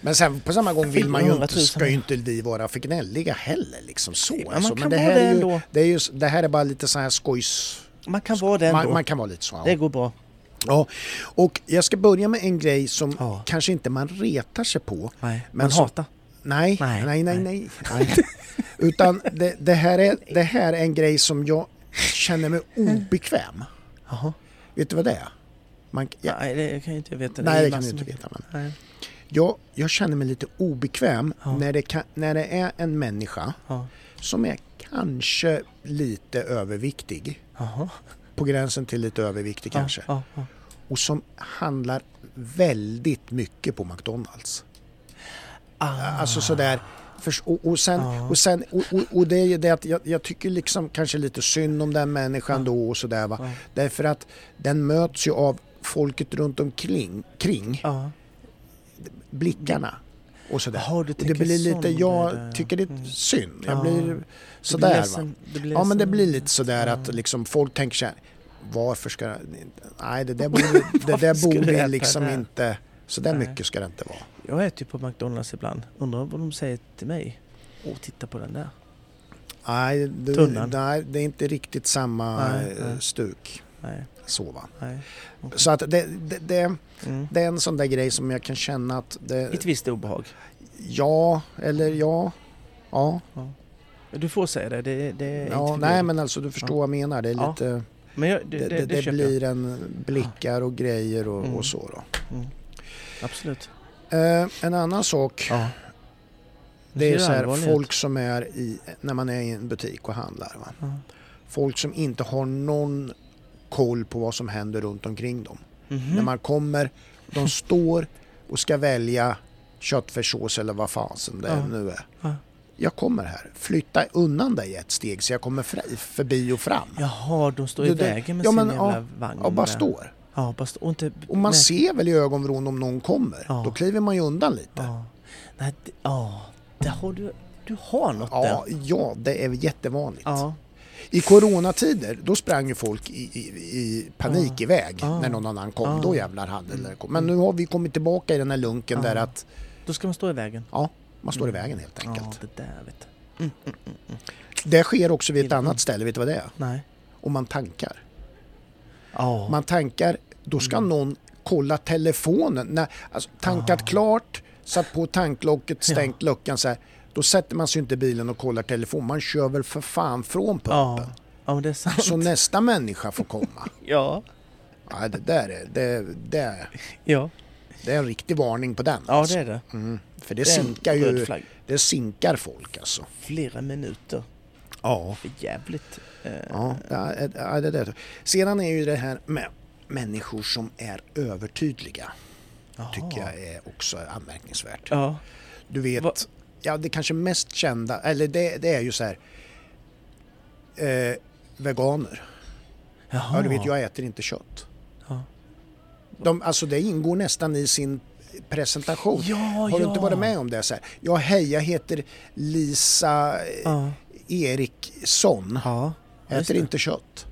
[SPEAKER 1] Men sen på samma gång vill man ju
[SPEAKER 2] 400
[SPEAKER 1] inte,
[SPEAKER 2] 000.
[SPEAKER 1] ska ju inte vi vara för gnälliga heller liksom så.
[SPEAKER 2] men man
[SPEAKER 1] alltså.
[SPEAKER 2] kan
[SPEAKER 1] det
[SPEAKER 2] vara
[SPEAKER 1] här
[SPEAKER 2] det
[SPEAKER 1] är ju,
[SPEAKER 2] ändå.
[SPEAKER 1] det, är ju, s- det här är bara lite så här skojs
[SPEAKER 2] Man kan vara den
[SPEAKER 1] Man,
[SPEAKER 2] då.
[SPEAKER 1] man kan vara lite så. ja.
[SPEAKER 2] Det går bra.
[SPEAKER 1] Ja, och jag ska börja med en grej som
[SPEAKER 2] Ja.
[SPEAKER 1] kanske inte man retar sig på.
[SPEAKER 2] Nej,
[SPEAKER 1] Men
[SPEAKER 2] men
[SPEAKER 1] så-
[SPEAKER 2] hata.
[SPEAKER 1] Nej, nej,
[SPEAKER 2] Nej,
[SPEAKER 1] nej, nej. nej. Utan det, det, här är, det här är en grej som jag känner mig obekväm.
[SPEAKER 2] Jaha.
[SPEAKER 1] Vet du vad det är? Man, ja,
[SPEAKER 2] Nej, det kan jag inte veta.
[SPEAKER 1] nej, det
[SPEAKER 2] är
[SPEAKER 1] kan du
[SPEAKER 2] massor
[SPEAKER 1] inte
[SPEAKER 2] med-
[SPEAKER 1] veta. Men
[SPEAKER 2] Nej.
[SPEAKER 1] jag, jag känner mig lite obekväm
[SPEAKER 2] Ja.
[SPEAKER 1] när, det kan, när det är en människa
[SPEAKER 2] Ja.
[SPEAKER 1] som är kanske lite överviktig.
[SPEAKER 2] Jaha.
[SPEAKER 1] På gränsen till lite överviktig kanske.
[SPEAKER 2] Ja, ja,
[SPEAKER 1] Och som handlar väldigt mycket på McDonalds.
[SPEAKER 2] ja.
[SPEAKER 1] Alltså sådär. Förs- Och, och sen,
[SPEAKER 2] Ah. Ja.
[SPEAKER 1] och, sen och, och, och det är ju det att jag, jag tycker liksom kanske lite synd om den människan då och sådär va.
[SPEAKER 2] Ja.
[SPEAKER 1] Därför att den möts ju av folket runt omkring, kring,
[SPEAKER 2] Ah,
[SPEAKER 1] blickarna och sådär.
[SPEAKER 2] Jaha, du
[SPEAKER 1] Och det
[SPEAKER 2] tänker
[SPEAKER 1] blir lite,
[SPEAKER 2] sån
[SPEAKER 1] jag
[SPEAKER 2] där, ja.
[SPEAKER 1] tycker det är
[SPEAKER 2] Mm.
[SPEAKER 1] synd. Jag
[SPEAKER 2] Ja.
[SPEAKER 1] blir
[SPEAKER 2] Du blir
[SPEAKER 1] sådär va.
[SPEAKER 2] ledsen, du blir
[SPEAKER 1] Ja men det
[SPEAKER 2] ledsen.
[SPEAKER 1] blir lite sådär att liksom folk tänker såhär, varför ska det- nej det där borde, det
[SPEAKER 2] Varför
[SPEAKER 1] där
[SPEAKER 2] ska du
[SPEAKER 1] borde
[SPEAKER 2] äta
[SPEAKER 1] liksom
[SPEAKER 2] det här?
[SPEAKER 1] inte, sådär
[SPEAKER 2] Nej.
[SPEAKER 1] mycket ska det inte vara.
[SPEAKER 2] Jag äter ju på McDonalds ibland. Undrar vad de säger till mig. Åh, titta på den där.
[SPEAKER 1] Nej, du,
[SPEAKER 2] Tunnan.
[SPEAKER 1] nej, det är inte riktigt samma
[SPEAKER 2] Nej,
[SPEAKER 1] eh,
[SPEAKER 2] nej.
[SPEAKER 1] stuk.
[SPEAKER 2] Nej,
[SPEAKER 1] Så, va?
[SPEAKER 2] nej.
[SPEAKER 1] så att det, det, det,
[SPEAKER 2] Mm.
[SPEAKER 1] det är en sån där grej som jag kan känna att det,
[SPEAKER 2] Ett visst obehag.
[SPEAKER 1] ja, eller ja, ja,
[SPEAKER 2] Du får säga det. Det, Eh, typ det är inte
[SPEAKER 1] ja
[SPEAKER 2] förbjudet.
[SPEAKER 1] nej men alltså du förstår
[SPEAKER 2] Ja.
[SPEAKER 1] vad jag menar. Det, är
[SPEAKER 2] Ja,
[SPEAKER 1] lite,
[SPEAKER 2] Men jag, det,
[SPEAKER 1] det,
[SPEAKER 2] det,
[SPEAKER 1] det,
[SPEAKER 2] det
[SPEAKER 1] det
[SPEAKER 2] köper
[SPEAKER 1] blir en blickar och grejer och,
[SPEAKER 2] Mm.
[SPEAKER 1] och så då.
[SPEAKER 2] jag. Mm. Absolut.
[SPEAKER 1] Eh, en annan sak,
[SPEAKER 2] Ja.
[SPEAKER 1] det är
[SPEAKER 2] ser
[SPEAKER 1] så här,
[SPEAKER 2] allvarlig ut.
[SPEAKER 1] folk som är i, när man är i en butik och handlar. Va?
[SPEAKER 2] Ja.
[SPEAKER 1] Folk som inte har någon koll på vad som händer runt omkring dem.
[SPEAKER 2] Mhm.
[SPEAKER 1] när man kommer, de står och ska välja köttfärssås eller vad fasen det
[SPEAKER 2] Ja.
[SPEAKER 1] nu är.
[SPEAKER 2] Ja.
[SPEAKER 1] Jag kommer här, flytta undan dig ett steg så jag kommer fri, förbi och fram.
[SPEAKER 2] Jaha, de står i
[SPEAKER 1] Det- det-
[SPEAKER 2] vägen med
[SPEAKER 1] ja,
[SPEAKER 2] sin
[SPEAKER 1] men,
[SPEAKER 2] jävla
[SPEAKER 1] ja,
[SPEAKER 2] vagn.
[SPEAKER 1] Och bara
[SPEAKER 2] där.
[SPEAKER 1] står.
[SPEAKER 2] Ja, bara stå. Och, inte,
[SPEAKER 1] Och man
[SPEAKER 2] nej.
[SPEAKER 1] ser väl i ögonvrån om någon kommer.
[SPEAKER 2] Ja.
[SPEAKER 1] Då kliver man ju undan lite. Ja,
[SPEAKER 2] Ja. Nej, det- ja. Där har du... Du har något
[SPEAKER 1] ja,
[SPEAKER 2] där.
[SPEAKER 1] det är jättevanligt.
[SPEAKER 2] Ja.
[SPEAKER 1] I coronatider, då sprang ju folk i, i, i panik
[SPEAKER 2] Ja.
[SPEAKER 1] iväg
[SPEAKER 2] Ja.
[SPEAKER 1] när någon annan kom.
[SPEAKER 2] Ja.
[SPEAKER 1] Då jävlar hade det kom.
[SPEAKER 2] Mm.
[SPEAKER 1] Men nu har vi kommit tillbaka i den här lunken där
[SPEAKER 2] Ja.
[SPEAKER 1] att
[SPEAKER 2] Då ska man stå i vägen.
[SPEAKER 1] ja, man står i vägen helt enkelt.
[SPEAKER 2] Ah. Mm. Ja, det där vet du.
[SPEAKER 1] Det sker också vid ett
[SPEAKER 2] Gillar.
[SPEAKER 1] annat ställe, vet du vad det är?
[SPEAKER 2] Nej.
[SPEAKER 1] Om man tankar.
[SPEAKER 2] Ja. Mm.
[SPEAKER 1] Man tankar, då ska någon kolla telefonen. När, alltså, tankat
[SPEAKER 2] Ah.
[SPEAKER 1] klart, satt på tanklocket, stängt luckan så här. Då sätter man sig ju inte i bilen och kollar telefonen. Man kör väl för fan från pumpen.
[SPEAKER 2] ja. ja, men det är sant.
[SPEAKER 1] Så nästa människa får komma.
[SPEAKER 2] Ja.
[SPEAKER 1] Ja, det där är, det, det,
[SPEAKER 2] Ja.
[SPEAKER 1] det är en riktig varning på den.
[SPEAKER 2] ja, det är det.
[SPEAKER 1] Mm, för det,
[SPEAKER 2] Det är en
[SPEAKER 1] sinkar
[SPEAKER 2] röd
[SPEAKER 1] ju,
[SPEAKER 2] flagg.
[SPEAKER 1] det sinkar folk alltså.
[SPEAKER 2] Flera minuter.
[SPEAKER 1] Ja.
[SPEAKER 2] För jävligt. Eh,
[SPEAKER 1] Ja, det, ja, det, det. Sedan är ju det här med människor som är övertydliga. Tycker jag är också anmärkningsvärt.
[SPEAKER 2] Ja.
[SPEAKER 1] Du vet,
[SPEAKER 2] Va-
[SPEAKER 1] ja det kanske mest kända, eller det, det är ju så här. Eh, veganer.
[SPEAKER 2] Jaha.
[SPEAKER 1] Ja, du vet, jag äter inte kött.
[SPEAKER 2] Ah. Ja.
[SPEAKER 1] De, alltså det ingår nästan i sin presentation.
[SPEAKER 2] Ja,
[SPEAKER 1] Har du
[SPEAKER 2] ja.
[SPEAKER 1] inte varit med om det? Så här? Ja, hej, jag heter Lisa eh,
[SPEAKER 2] Ja.
[SPEAKER 1] Eriksson.
[SPEAKER 2] Ja. just
[SPEAKER 1] Äter
[SPEAKER 2] det.
[SPEAKER 1] inte kött.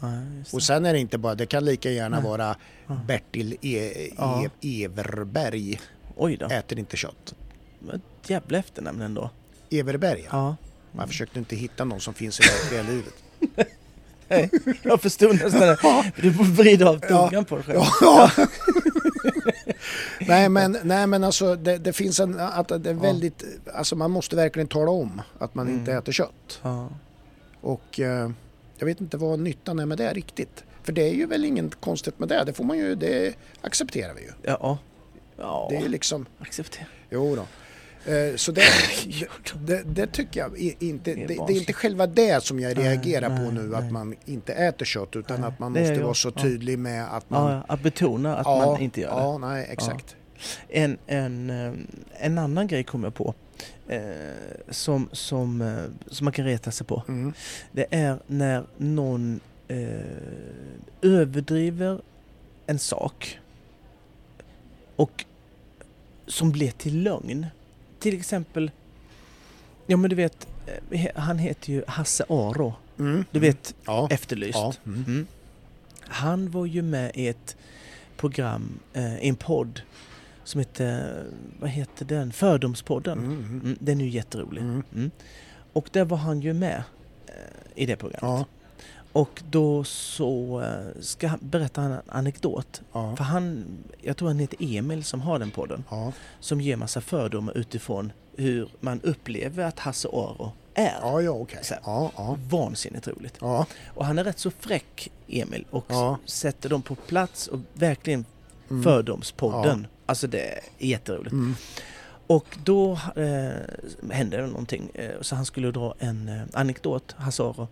[SPEAKER 2] Ja, just
[SPEAKER 1] Och
[SPEAKER 2] det.
[SPEAKER 1] sen är det inte bara, det kan lika gärna vara Bertil e- e-
[SPEAKER 2] Ja.
[SPEAKER 1] Everberg
[SPEAKER 2] Oj då.
[SPEAKER 1] äter inte kött.
[SPEAKER 2] Vad Ett jävla efternamn ändå.
[SPEAKER 1] Everberg, ja.
[SPEAKER 2] Ja.
[SPEAKER 1] Man försökte inte hitta någon som finns i verkliga livet.
[SPEAKER 2] Hej. Jag förstod nästan det. Du får vrida av tungan på dig själv.
[SPEAKER 1] Ja. nej, men, nej men alltså det, det finns en, att det är väldigt, alltså man måste verkligen tala om att man inte
[SPEAKER 2] Mm.
[SPEAKER 1] äter kött.
[SPEAKER 2] Ja.
[SPEAKER 1] Och eh, jag vet inte vad nyttan är med det riktigt. För det är ju väl inget konstigt med det, det får man ju, det accepterar vi ju.
[SPEAKER 2] Ja. Ja.
[SPEAKER 1] Det är ju liksom
[SPEAKER 2] Acceptera.
[SPEAKER 1] Jo då. Eh, Så det, det, det tycker jag i- inte,
[SPEAKER 2] Det
[SPEAKER 1] det,
[SPEAKER 2] är
[SPEAKER 1] det är
[SPEAKER 2] vansinnigt.
[SPEAKER 1] inte själva det som jag
[SPEAKER 2] Nej,
[SPEAKER 1] reagerar på
[SPEAKER 2] nej,
[SPEAKER 1] nu, att
[SPEAKER 2] nej.
[SPEAKER 1] man inte äter kött utan
[SPEAKER 2] Nej,
[SPEAKER 1] att man
[SPEAKER 2] det är
[SPEAKER 1] måste
[SPEAKER 2] jag.
[SPEAKER 1] vara så
[SPEAKER 2] Ja.
[SPEAKER 1] tydlig med att man...
[SPEAKER 2] Ja, ja, att betona att
[SPEAKER 1] Ja,
[SPEAKER 2] man inte gör det.
[SPEAKER 1] Ja, nej exakt.
[SPEAKER 2] En, en, eh, en annan grej kom jag på eh, som, som, eh, som man kan reta sig på.
[SPEAKER 1] Mm.
[SPEAKER 2] Det är när någon eh, överdriver en sak och som blir till lögn. Till exempel, ja men du vet, eh, he- han heter ju Hasse Aro.
[SPEAKER 1] Mm.
[SPEAKER 2] Du vet,
[SPEAKER 1] Ja.
[SPEAKER 2] Efterlyst.
[SPEAKER 1] Ja. Mm.
[SPEAKER 2] Mm. Han var ju med i ett program, eh, i en podd som heter, vad heter den? Fördomspodden.
[SPEAKER 1] Mm. Mm.
[SPEAKER 2] Mm, den är ju jätterolig.
[SPEAKER 1] Mm.
[SPEAKER 2] Och där var han ju med eh, i det programmet.
[SPEAKER 1] Ja.
[SPEAKER 2] Och då så eh, ska han berätta en anekdot.
[SPEAKER 1] Ja.
[SPEAKER 2] För han, jag tror han heter Emil som har den podden,
[SPEAKER 1] Ja.
[SPEAKER 2] som ger massa fördomar utifrån hur man upplever att Hasse Aro är.
[SPEAKER 1] Ja, ja, okej.
[SPEAKER 2] Så här.
[SPEAKER 1] Ja, ja.
[SPEAKER 2] Vansinnigt roligt.
[SPEAKER 1] Ja,
[SPEAKER 2] Och han är rätt så fräck, Emil, och
[SPEAKER 1] Ja.
[SPEAKER 2] s- sätter dem på plats och verkligen
[SPEAKER 1] Mm.
[SPEAKER 2] Fördomspodden. Alltså det är jätteroligt. Och då eh, hände det någonting, eh, så han skulle dra en eh, anekdot, Hasse Aro.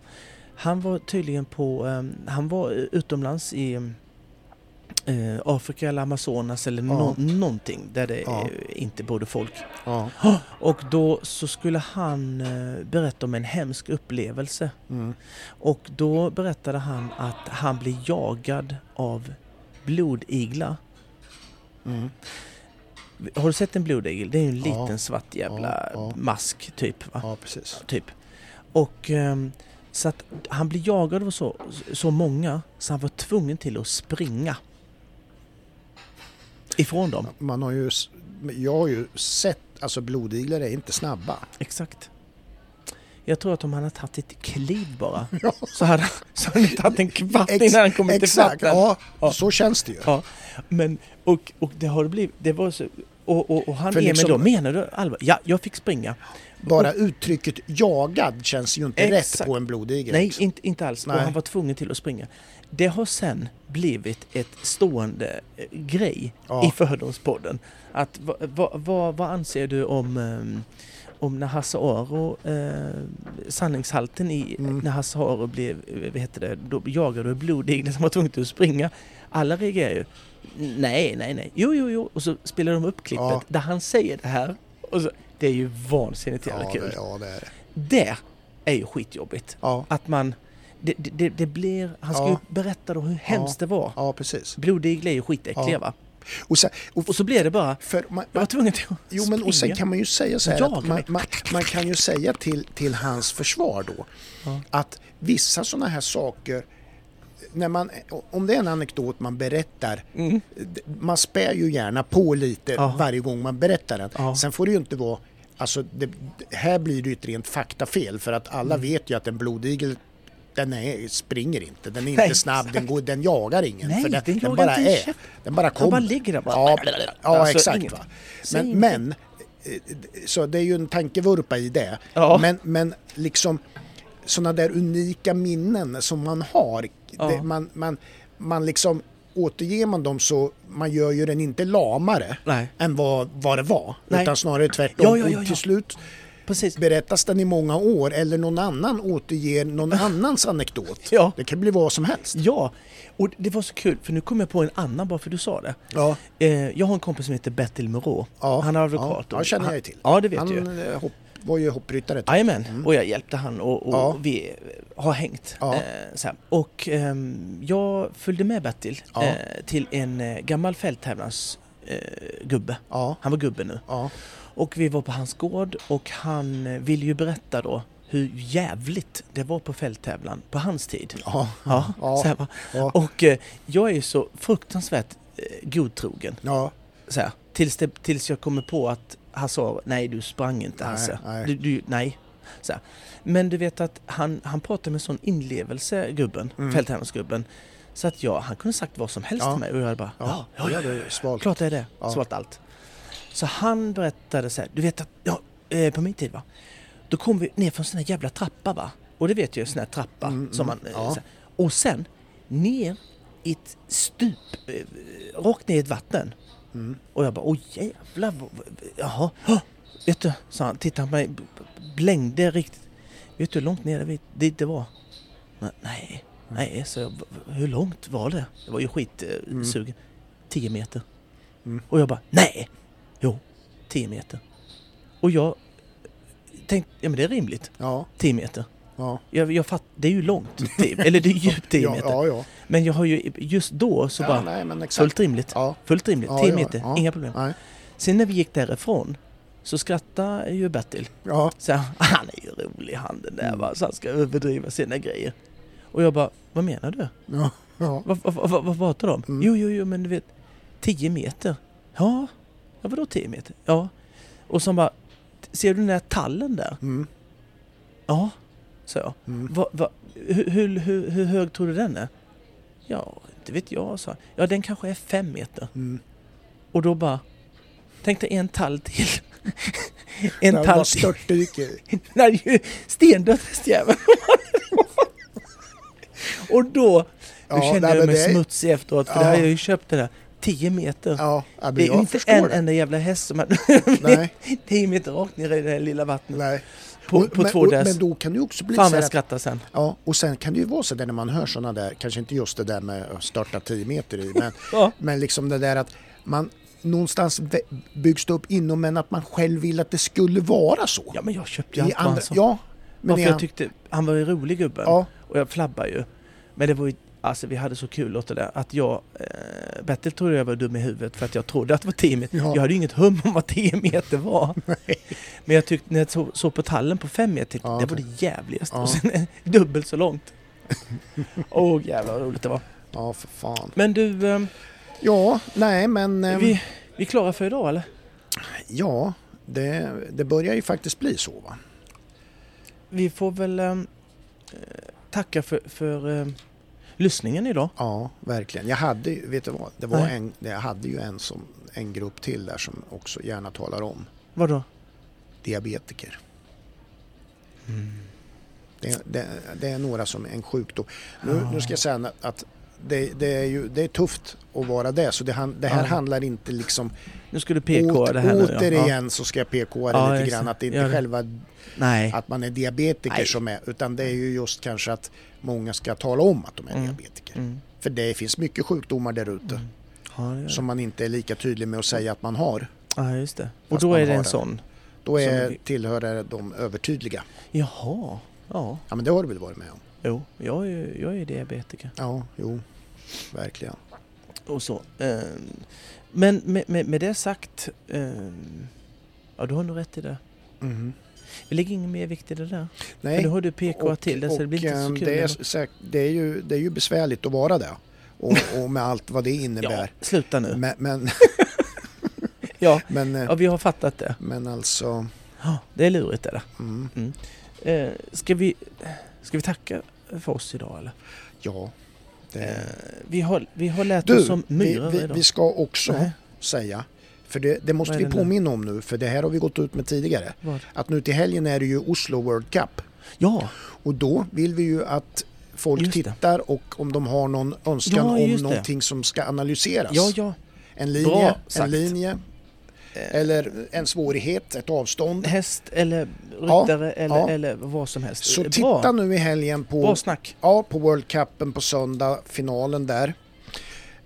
[SPEAKER 2] Han var tydligen på, eh, han var eh, utomlands i eh, Afrika eller Amazonas eller nå- någonting där det
[SPEAKER 1] Ja.
[SPEAKER 2] eh, inte bodde folk.
[SPEAKER 1] ja.
[SPEAKER 2] Och då så skulle han eh, berätta om en hemsk upplevelse.
[SPEAKER 1] mm,
[SPEAKER 2] Och då berättade han att han blev jagad av blodigla.
[SPEAKER 1] mm.
[SPEAKER 2] Har du sett en blodigel? Det är ju en
[SPEAKER 1] Ja.
[SPEAKER 2] liten svart jävla
[SPEAKER 1] Ja, ja.
[SPEAKER 2] mask typ. Va?
[SPEAKER 1] ja precis.
[SPEAKER 2] typ. Och ehm, så att han blev jagad av så, så många så han var tvungen till att springa. Ifrån dem.
[SPEAKER 1] Man har ju, s- jag har ju sett, alltså blodiglar är inte snabba.
[SPEAKER 2] Exakt. Jag tror att om han hade tagit ett kliv bara så hade han, så hade han tagit en kvart
[SPEAKER 1] Ex-
[SPEAKER 2] innan han kommit
[SPEAKER 1] Exakt,
[SPEAKER 2] ifatt den.
[SPEAKER 1] ja,
[SPEAKER 2] Ja.
[SPEAKER 1] så känns det ju.
[SPEAKER 2] Ja, men och, och det har det blivit. Det var så, och, och, och han
[SPEAKER 1] För
[SPEAKER 2] Emil
[SPEAKER 1] liksom-
[SPEAKER 2] då, menar du allvar? Ja, jag fick springa.
[SPEAKER 1] Bara uttrycket jagad känns ju inte rätt
[SPEAKER 2] Exakt.
[SPEAKER 1] på en blodigel.
[SPEAKER 2] Nej,
[SPEAKER 1] liksom.
[SPEAKER 2] inte, inte alls.
[SPEAKER 1] Nej.
[SPEAKER 2] Och han var tvungen till att springa. Det har sen blivit ett stående eh, grej
[SPEAKER 1] Ja.
[SPEAKER 2] i Fördomspodden. Att va, va, va, vad anser du om, ehm, om när Hasse Aro, eh, sanningshalten i eh,
[SPEAKER 1] Mm.
[SPEAKER 2] när Hasse Aro blev, eh, vad heter det, då jagade du blodiglar som var tvungen till att springa. Alla reagerar ju. Nej, nej, nej. Jo, jo, jo. Och så spelar de upp klippet
[SPEAKER 1] Ja.
[SPEAKER 2] där han säger det här. Och så, det är ju vansinnigt jävla
[SPEAKER 1] ja,
[SPEAKER 2] kul.
[SPEAKER 1] det, ja, det är det.
[SPEAKER 2] Det är ju skitjobbigt.
[SPEAKER 1] Ja.
[SPEAKER 2] Att man... Det, det- det, det blir... Han ska
[SPEAKER 1] Ja.
[SPEAKER 2] ju berätta då hur hemskt det var.
[SPEAKER 1] Ja, precis.
[SPEAKER 2] Blodiglar är ju skitäckliga
[SPEAKER 1] Ja.
[SPEAKER 2] va?
[SPEAKER 1] Och sen, och,
[SPEAKER 2] Och så blir det bara...
[SPEAKER 1] för, man,
[SPEAKER 2] Jag var tvungen till att
[SPEAKER 1] Jo, men och sen
[SPEAKER 2] springa.
[SPEAKER 1] kan man ju säga så här
[SPEAKER 2] Jag
[SPEAKER 1] att
[SPEAKER 2] kan-
[SPEAKER 1] man, man, man kan ju säga till, till hans försvar då att vissa sådana här saker när man, om det är en anekdot man berättar, d- man spär ju gärna på lite
[SPEAKER 2] Mm. Ja.
[SPEAKER 1] varje gång man berättar den.
[SPEAKER 2] Ja.
[SPEAKER 1] Sen får det ju inte vara, alltså det, här blir det ju ett rent faktafel för att alla
[SPEAKER 2] Mm.
[SPEAKER 1] vet ju att en blodigel den är, springer inte, den är inte
[SPEAKER 2] Nej,
[SPEAKER 1] snabb, den, går, den jagar ingen.
[SPEAKER 2] Nej,
[SPEAKER 1] för den,
[SPEAKER 2] den jagar
[SPEAKER 1] bara
[SPEAKER 2] inte en
[SPEAKER 1] är,
[SPEAKER 2] käft.
[SPEAKER 1] den bara
[SPEAKER 2] Den
[SPEAKER 1] kommer.
[SPEAKER 2] bara ligger där bara.
[SPEAKER 1] Ja, ja
[SPEAKER 2] Alltså,
[SPEAKER 1] exakt.
[SPEAKER 2] inget.
[SPEAKER 1] Va?
[SPEAKER 2] Säg
[SPEAKER 1] Men,
[SPEAKER 2] ingenting.
[SPEAKER 1] men eh, så det är ju en tankevurpa i det.
[SPEAKER 2] Ja.
[SPEAKER 1] Men, men liksom sådana där unika minnen som man har. Det, man, man, man liksom återger man dem så man gör ju den inte lamare
[SPEAKER 2] Nej.
[SPEAKER 1] än vad, vad det var.
[SPEAKER 2] Nej.
[SPEAKER 1] Utan snarare tvärtom.
[SPEAKER 2] Ja, ja, ja,
[SPEAKER 1] Och
[SPEAKER 2] ja.
[SPEAKER 1] till slut
[SPEAKER 2] Precis.
[SPEAKER 1] berättas den i många år eller någon annan återger någon annans anekdot.
[SPEAKER 2] Äh. Ja.
[SPEAKER 1] Det kan bli vad som helst.
[SPEAKER 2] Ja, och det var så kul för nu kom jag på en annan bara för du sa det.
[SPEAKER 1] Ja.
[SPEAKER 2] Eh, jag har en kompis som heter Bertil Moreau.
[SPEAKER 1] Ja,
[SPEAKER 2] Han är advokat.
[SPEAKER 1] Ja,
[SPEAKER 2] och
[SPEAKER 1] ja känner jag
[SPEAKER 2] han-
[SPEAKER 1] ju till.
[SPEAKER 2] Ja, det vet
[SPEAKER 1] han
[SPEAKER 2] du ju.
[SPEAKER 1] eh, Hopp, var ju hoppryttare. ett tag.
[SPEAKER 2] Jajamän, och jag hjälpte han och, och
[SPEAKER 1] Ja.
[SPEAKER 2] vi eh, har hängt.
[SPEAKER 1] Ja.
[SPEAKER 2] Eh, så här. Och ehm, jag följde med Bertil
[SPEAKER 1] Ja.
[SPEAKER 2] eh, till en eh, gammal fälttävlans eh, gubbe.
[SPEAKER 1] Ja.
[SPEAKER 2] Han var gubbe nu.
[SPEAKER 1] Ja.
[SPEAKER 2] Och vi var på hans gård och han eh, ville ju berätta då hur jävligt det var på fälttävlan på hans tid.
[SPEAKER 1] Ja.
[SPEAKER 2] Ja,
[SPEAKER 1] Ja.
[SPEAKER 2] Så här, va.
[SPEAKER 1] Ja.
[SPEAKER 2] Och eh, jag är ju så fruktansvärt eh, godtrogen.
[SPEAKER 1] Ja.
[SPEAKER 2] Så här, tills, det, tills jag kommer på att han sa nej du sprang inte Hasse.
[SPEAKER 1] nej.
[SPEAKER 2] Du, du, nej. Så här. Men du vet att han, han pratade med sån inlevelse gubben, fälttävlingsgubben. Så att jag, han kunde sagt vad som helst
[SPEAKER 1] Mm. Ja.
[SPEAKER 2] till mig och jag hade bara ja, ja,
[SPEAKER 1] det
[SPEAKER 2] ja,
[SPEAKER 1] hade
[SPEAKER 2] ja,
[SPEAKER 1] svalt.
[SPEAKER 2] klart det är det.
[SPEAKER 1] Ja.
[SPEAKER 2] Svalt allt. Så han berättade så här, du vet att, ja, eh, på min tid va. Då kom vi ner från sån här jävla trappa va. Och det vet jag, sån här trappa som man... eh,
[SPEAKER 1] ja.
[SPEAKER 2] så här. Och sen ner i ett stup, eh, rakt ner i ett vatten. Och jag bara, åh jävlar, vad- vad- jaha. Hå! Vet du, sa han, tittade på mig, b- b- blängde riktigt. Vet du hur långt ner vi- dit det var? Men, nej, nej, så jag, "V- v- hur långt var det? Det var ju skitsugen. 10 meter. Och jag bara, nej! Jo, 10 meter. Och jag tänkte, ja men det är rimligt.
[SPEAKER 1] Ja.
[SPEAKER 2] 10 meter.
[SPEAKER 1] Ja.
[SPEAKER 2] Jag, jag fatt, det är ju långt, tio, eller det är djupt 10
[SPEAKER 1] Ja,
[SPEAKER 2] meter.
[SPEAKER 1] ja, ja.
[SPEAKER 2] Men jag har ju, just då så
[SPEAKER 1] Ja,
[SPEAKER 2] bara,
[SPEAKER 1] nej, men exakt.
[SPEAKER 2] fullt rimligt.
[SPEAKER 1] Ja.
[SPEAKER 2] Fullt rimligt,
[SPEAKER 1] Ja,
[SPEAKER 2] 10
[SPEAKER 1] ja,
[SPEAKER 2] meter,
[SPEAKER 1] ja.
[SPEAKER 2] inga problem.
[SPEAKER 1] Nej.
[SPEAKER 2] Sen när vi gick därifrån så skrattade ju Bertil.
[SPEAKER 1] Ja.
[SPEAKER 2] Så här, han är ju rolig han den
[SPEAKER 1] Mm.
[SPEAKER 2] där va, så han ska överdriva sina grejer. Och jag bara, vad menar du?
[SPEAKER 1] Ja. Ja.
[SPEAKER 2] Vad, vad, vad, vad pratar du om?
[SPEAKER 1] Mm.
[SPEAKER 2] Jo, jo, jo, men du vet, 10 meter. Ja, ja vadå 10 meter? Ja. Och så han bara, ser du den där tallen där? Ja. sa jag.
[SPEAKER 1] Mm.
[SPEAKER 2] Va, va, hur, hur, hur, hur hög tror du den är? Ja, inte vet jag, sa han. Ja, den kanske är fem meter.
[SPEAKER 1] Mm.
[SPEAKER 2] Och då bara... Tänk dig en tall till. en
[SPEAKER 1] Jag
[SPEAKER 2] tall
[SPEAKER 1] bara
[SPEAKER 2] till.
[SPEAKER 1] störtdyker.
[SPEAKER 2] När det är ju stendött hästjäveln. Och då, då
[SPEAKER 1] Ja,
[SPEAKER 2] kände
[SPEAKER 1] nej,
[SPEAKER 2] jag
[SPEAKER 1] men
[SPEAKER 2] mig
[SPEAKER 1] det är-
[SPEAKER 2] smutsig efteråt. För det
[SPEAKER 1] Ja.
[SPEAKER 2] har jag ju köpt det där. 10 meter.
[SPEAKER 1] Ja, ja, men
[SPEAKER 2] det är ju
[SPEAKER 1] jag
[SPEAKER 2] inte
[SPEAKER 1] förstår
[SPEAKER 2] en
[SPEAKER 1] det.
[SPEAKER 2] enda jävla häst som hade
[SPEAKER 1] Nej,
[SPEAKER 2] 10 meter rakt ner i det här lilla vattnet.
[SPEAKER 1] nej.
[SPEAKER 2] På,
[SPEAKER 1] Och-
[SPEAKER 2] på
[SPEAKER 1] men,
[SPEAKER 2] två
[SPEAKER 1] och,
[SPEAKER 2] däs.
[SPEAKER 1] men då kan det ju också bli
[SPEAKER 2] Fan
[SPEAKER 1] så
[SPEAKER 2] vad jag
[SPEAKER 1] här att,
[SPEAKER 2] skrattar sen.
[SPEAKER 1] ja, och sen kan det ju vara så där när man hör sådana där, kanske inte just det där med att starta 10 meter i, men,
[SPEAKER 2] Ja.
[SPEAKER 1] men liksom det där att man någonstans vä- byggs det upp inom men att man själv vill att det skulle vara så.
[SPEAKER 2] Ja men jag köpte
[SPEAKER 1] I
[SPEAKER 2] ju allt vad
[SPEAKER 1] andra-
[SPEAKER 2] han sa.
[SPEAKER 1] ja,
[SPEAKER 2] men
[SPEAKER 1] i
[SPEAKER 2] Varför jag
[SPEAKER 1] an-
[SPEAKER 2] tyckte han var ju rolig gubben.
[SPEAKER 1] ja,
[SPEAKER 2] Och jag flabbar ju. Men det var ju, alltså vi hade så kul åt det där. Att jag, eh, Bertil trodde jag var dum i huvudet för att jag trodde att det var 10 meter.
[SPEAKER 1] Ja.
[SPEAKER 2] Jag hade ju inget hum om vad 10 meter var. Men jag tyckte, när jag såg så på tallen på 5 meter, tyckte,
[SPEAKER 1] Ja,
[SPEAKER 2] det var
[SPEAKER 1] okej.
[SPEAKER 2] det jävligaste.
[SPEAKER 1] Ja.
[SPEAKER 2] Och sen dubbelt så långt. Åh jävlar vad roligt det var.
[SPEAKER 1] ja, för fan.
[SPEAKER 2] Men du, eh,
[SPEAKER 1] Ja, nej men eh,
[SPEAKER 2] vi, vi är klara för idag eller?
[SPEAKER 1] ja, det, det börjar ju faktiskt bli så va.
[SPEAKER 2] Vi får väl eh, tacka för, för eh, lyssningen idag.
[SPEAKER 1] Ja, verkligen. Jag hade ju, vet du vad, det var
[SPEAKER 2] Nej.
[SPEAKER 1] en, jag hade ju en, som, en grupp till där som också gärna talar om
[SPEAKER 2] Vadå?
[SPEAKER 1] diabetiker. Det, det, det är några som är en sjukdom. Nu, nu ska jag säga att det, det, är ju, det är tufft att vara det, så det, han- det här
[SPEAKER 2] Ja.
[SPEAKER 1] handlar inte liksom...
[SPEAKER 2] Nu skulle du PK det här nu ja.
[SPEAKER 1] återigen så ska jag PK det
[SPEAKER 2] Ja,
[SPEAKER 1] lite
[SPEAKER 2] just
[SPEAKER 1] grann,
[SPEAKER 2] det.
[SPEAKER 1] att det inte
[SPEAKER 2] Gör
[SPEAKER 1] är
[SPEAKER 2] det.
[SPEAKER 1] själva
[SPEAKER 2] Nej.
[SPEAKER 1] att man är diabetiker
[SPEAKER 2] Nej.
[SPEAKER 1] som är, utan det är ju just kanske att många ska tala om att de är
[SPEAKER 2] Mm.
[SPEAKER 1] diabetiker.
[SPEAKER 2] Mm.
[SPEAKER 1] För det finns mycket sjukdomar där ute
[SPEAKER 2] Ja, det gör det.
[SPEAKER 1] som man inte är lika tydlig med att säga att man har.
[SPEAKER 2] Ja, just det. Och
[SPEAKER 1] Fast
[SPEAKER 2] då
[SPEAKER 1] man
[SPEAKER 2] är det
[SPEAKER 1] har
[SPEAKER 2] en
[SPEAKER 1] det.
[SPEAKER 2] sån.
[SPEAKER 1] Då
[SPEAKER 2] Som
[SPEAKER 1] är,
[SPEAKER 2] vi-
[SPEAKER 1] tillhör det de övertydliga.
[SPEAKER 2] Jaha. Ja,
[SPEAKER 1] Ja men det har du väl varit med om?
[SPEAKER 2] jo. Jag är, ju- jag är diabetiker.
[SPEAKER 1] Ja, jo, verkligen.
[SPEAKER 2] Och så. Ehm, Men med, med, med det sagt. ehm, Ja, du har nog rätt i det.
[SPEAKER 1] Mhm.
[SPEAKER 2] Det ligger ingen mer vikt i det där.
[SPEAKER 1] Nej.
[SPEAKER 2] Mm. För nu har du PK
[SPEAKER 1] och-
[SPEAKER 2] till det så det blir inte
[SPEAKER 1] och,
[SPEAKER 2] så
[SPEAKER 1] ehm,
[SPEAKER 2] kul.
[SPEAKER 1] Det är,
[SPEAKER 2] ändå.
[SPEAKER 1] säk- det, är ju, det är ju besvärligt att vara det. Och, och med allt vad det
[SPEAKER 2] ja,
[SPEAKER 1] innebär.
[SPEAKER 2] sluta nu.
[SPEAKER 1] Men, men,
[SPEAKER 2] Ja.
[SPEAKER 1] men, eh,
[SPEAKER 2] ja, vi har fattat det.
[SPEAKER 1] men alltså...
[SPEAKER 2] Ja, det är lurigt det där.
[SPEAKER 1] Mm,
[SPEAKER 2] Eh, Ska vi, ska vi tacka för oss idag eller?
[SPEAKER 1] ja. Det.
[SPEAKER 2] Eh, Vi har, vi har lärt
[SPEAKER 1] Du,
[SPEAKER 2] oss som
[SPEAKER 1] vi,
[SPEAKER 2] myror
[SPEAKER 1] vi,
[SPEAKER 2] idag.
[SPEAKER 1] vi ska också
[SPEAKER 2] Nej,
[SPEAKER 1] säga, för det, det måste
[SPEAKER 2] Vad är
[SPEAKER 1] vi
[SPEAKER 2] det nu?
[SPEAKER 1] påminna om nu, för det här har vi gått ut med tidigare.
[SPEAKER 2] vad?
[SPEAKER 1] Att nu till helgen är det ju Oslo World Cup.
[SPEAKER 2] Ja,
[SPEAKER 1] Och då vill vi ju att folk
[SPEAKER 2] Just det.
[SPEAKER 1] tittar och om de har någon önskan
[SPEAKER 2] Ja,
[SPEAKER 1] om
[SPEAKER 2] just det.
[SPEAKER 1] någonting som ska analyseras.
[SPEAKER 2] ja, ja.
[SPEAKER 1] En
[SPEAKER 2] Bra
[SPEAKER 1] linje,
[SPEAKER 2] sagt.
[SPEAKER 1] en linje eh, eller en svårighet, ett avstånd.
[SPEAKER 2] häst eller
[SPEAKER 1] Ja,
[SPEAKER 2] ryttare eller,
[SPEAKER 1] ja.
[SPEAKER 2] eller vad som helst. Eh,
[SPEAKER 1] Så
[SPEAKER 2] Bra.
[SPEAKER 1] titta nu i helgen på,
[SPEAKER 2] Bra snack.
[SPEAKER 1] ja, på World Cupen på söndag, finalen där.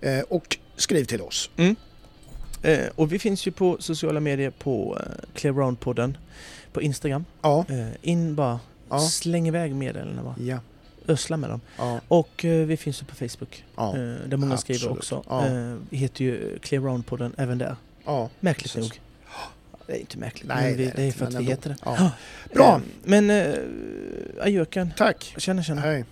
[SPEAKER 1] Eh, och skriv till oss.
[SPEAKER 2] Eh, och vi finns ju på sociala medier på eh, Clearound-podden på Instagram.
[SPEAKER 1] Ja,
[SPEAKER 2] Eh, in bara,
[SPEAKER 1] Ja.
[SPEAKER 2] släng iväg meddelandena bara.
[SPEAKER 1] ja,
[SPEAKER 2] Ösla med dem.
[SPEAKER 1] ja.
[SPEAKER 2] Och eh, vi finns ju på Facebook
[SPEAKER 1] ja,
[SPEAKER 2] eh, där många skriver
[SPEAKER 1] absolut.
[SPEAKER 2] också.
[SPEAKER 1] Ja.
[SPEAKER 2] Eh, vi heter ju Clearound-podden även där.
[SPEAKER 1] ja.
[SPEAKER 2] Märkligt
[SPEAKER 1] Precis.
[SPEAKER 2] nog. Det är inte märkligt,
[SPEAKER 1] Nej,
[SPEAKER 2] men vi,
[SPEAKER 1] det
[SPEAKER 2] det,
[SPEAKER 1] är
[SPEAKER 2] är
[SPEAKER 1] inte,
[SPEAKER 2] för att
[SPEAKER 1] men
[SPEAKER 2] vi
[SPEAKER 1] ändå.
[SPEAKER 2] heter det.
[SPEAKER 1] Ja. Bra,
[SPEAKER 2] Eh, men eh, ajöken.
[SPEAKER 1] tack.
[SPEAKER 2] Tjena tjena.
[SPEAKER 1] Hej.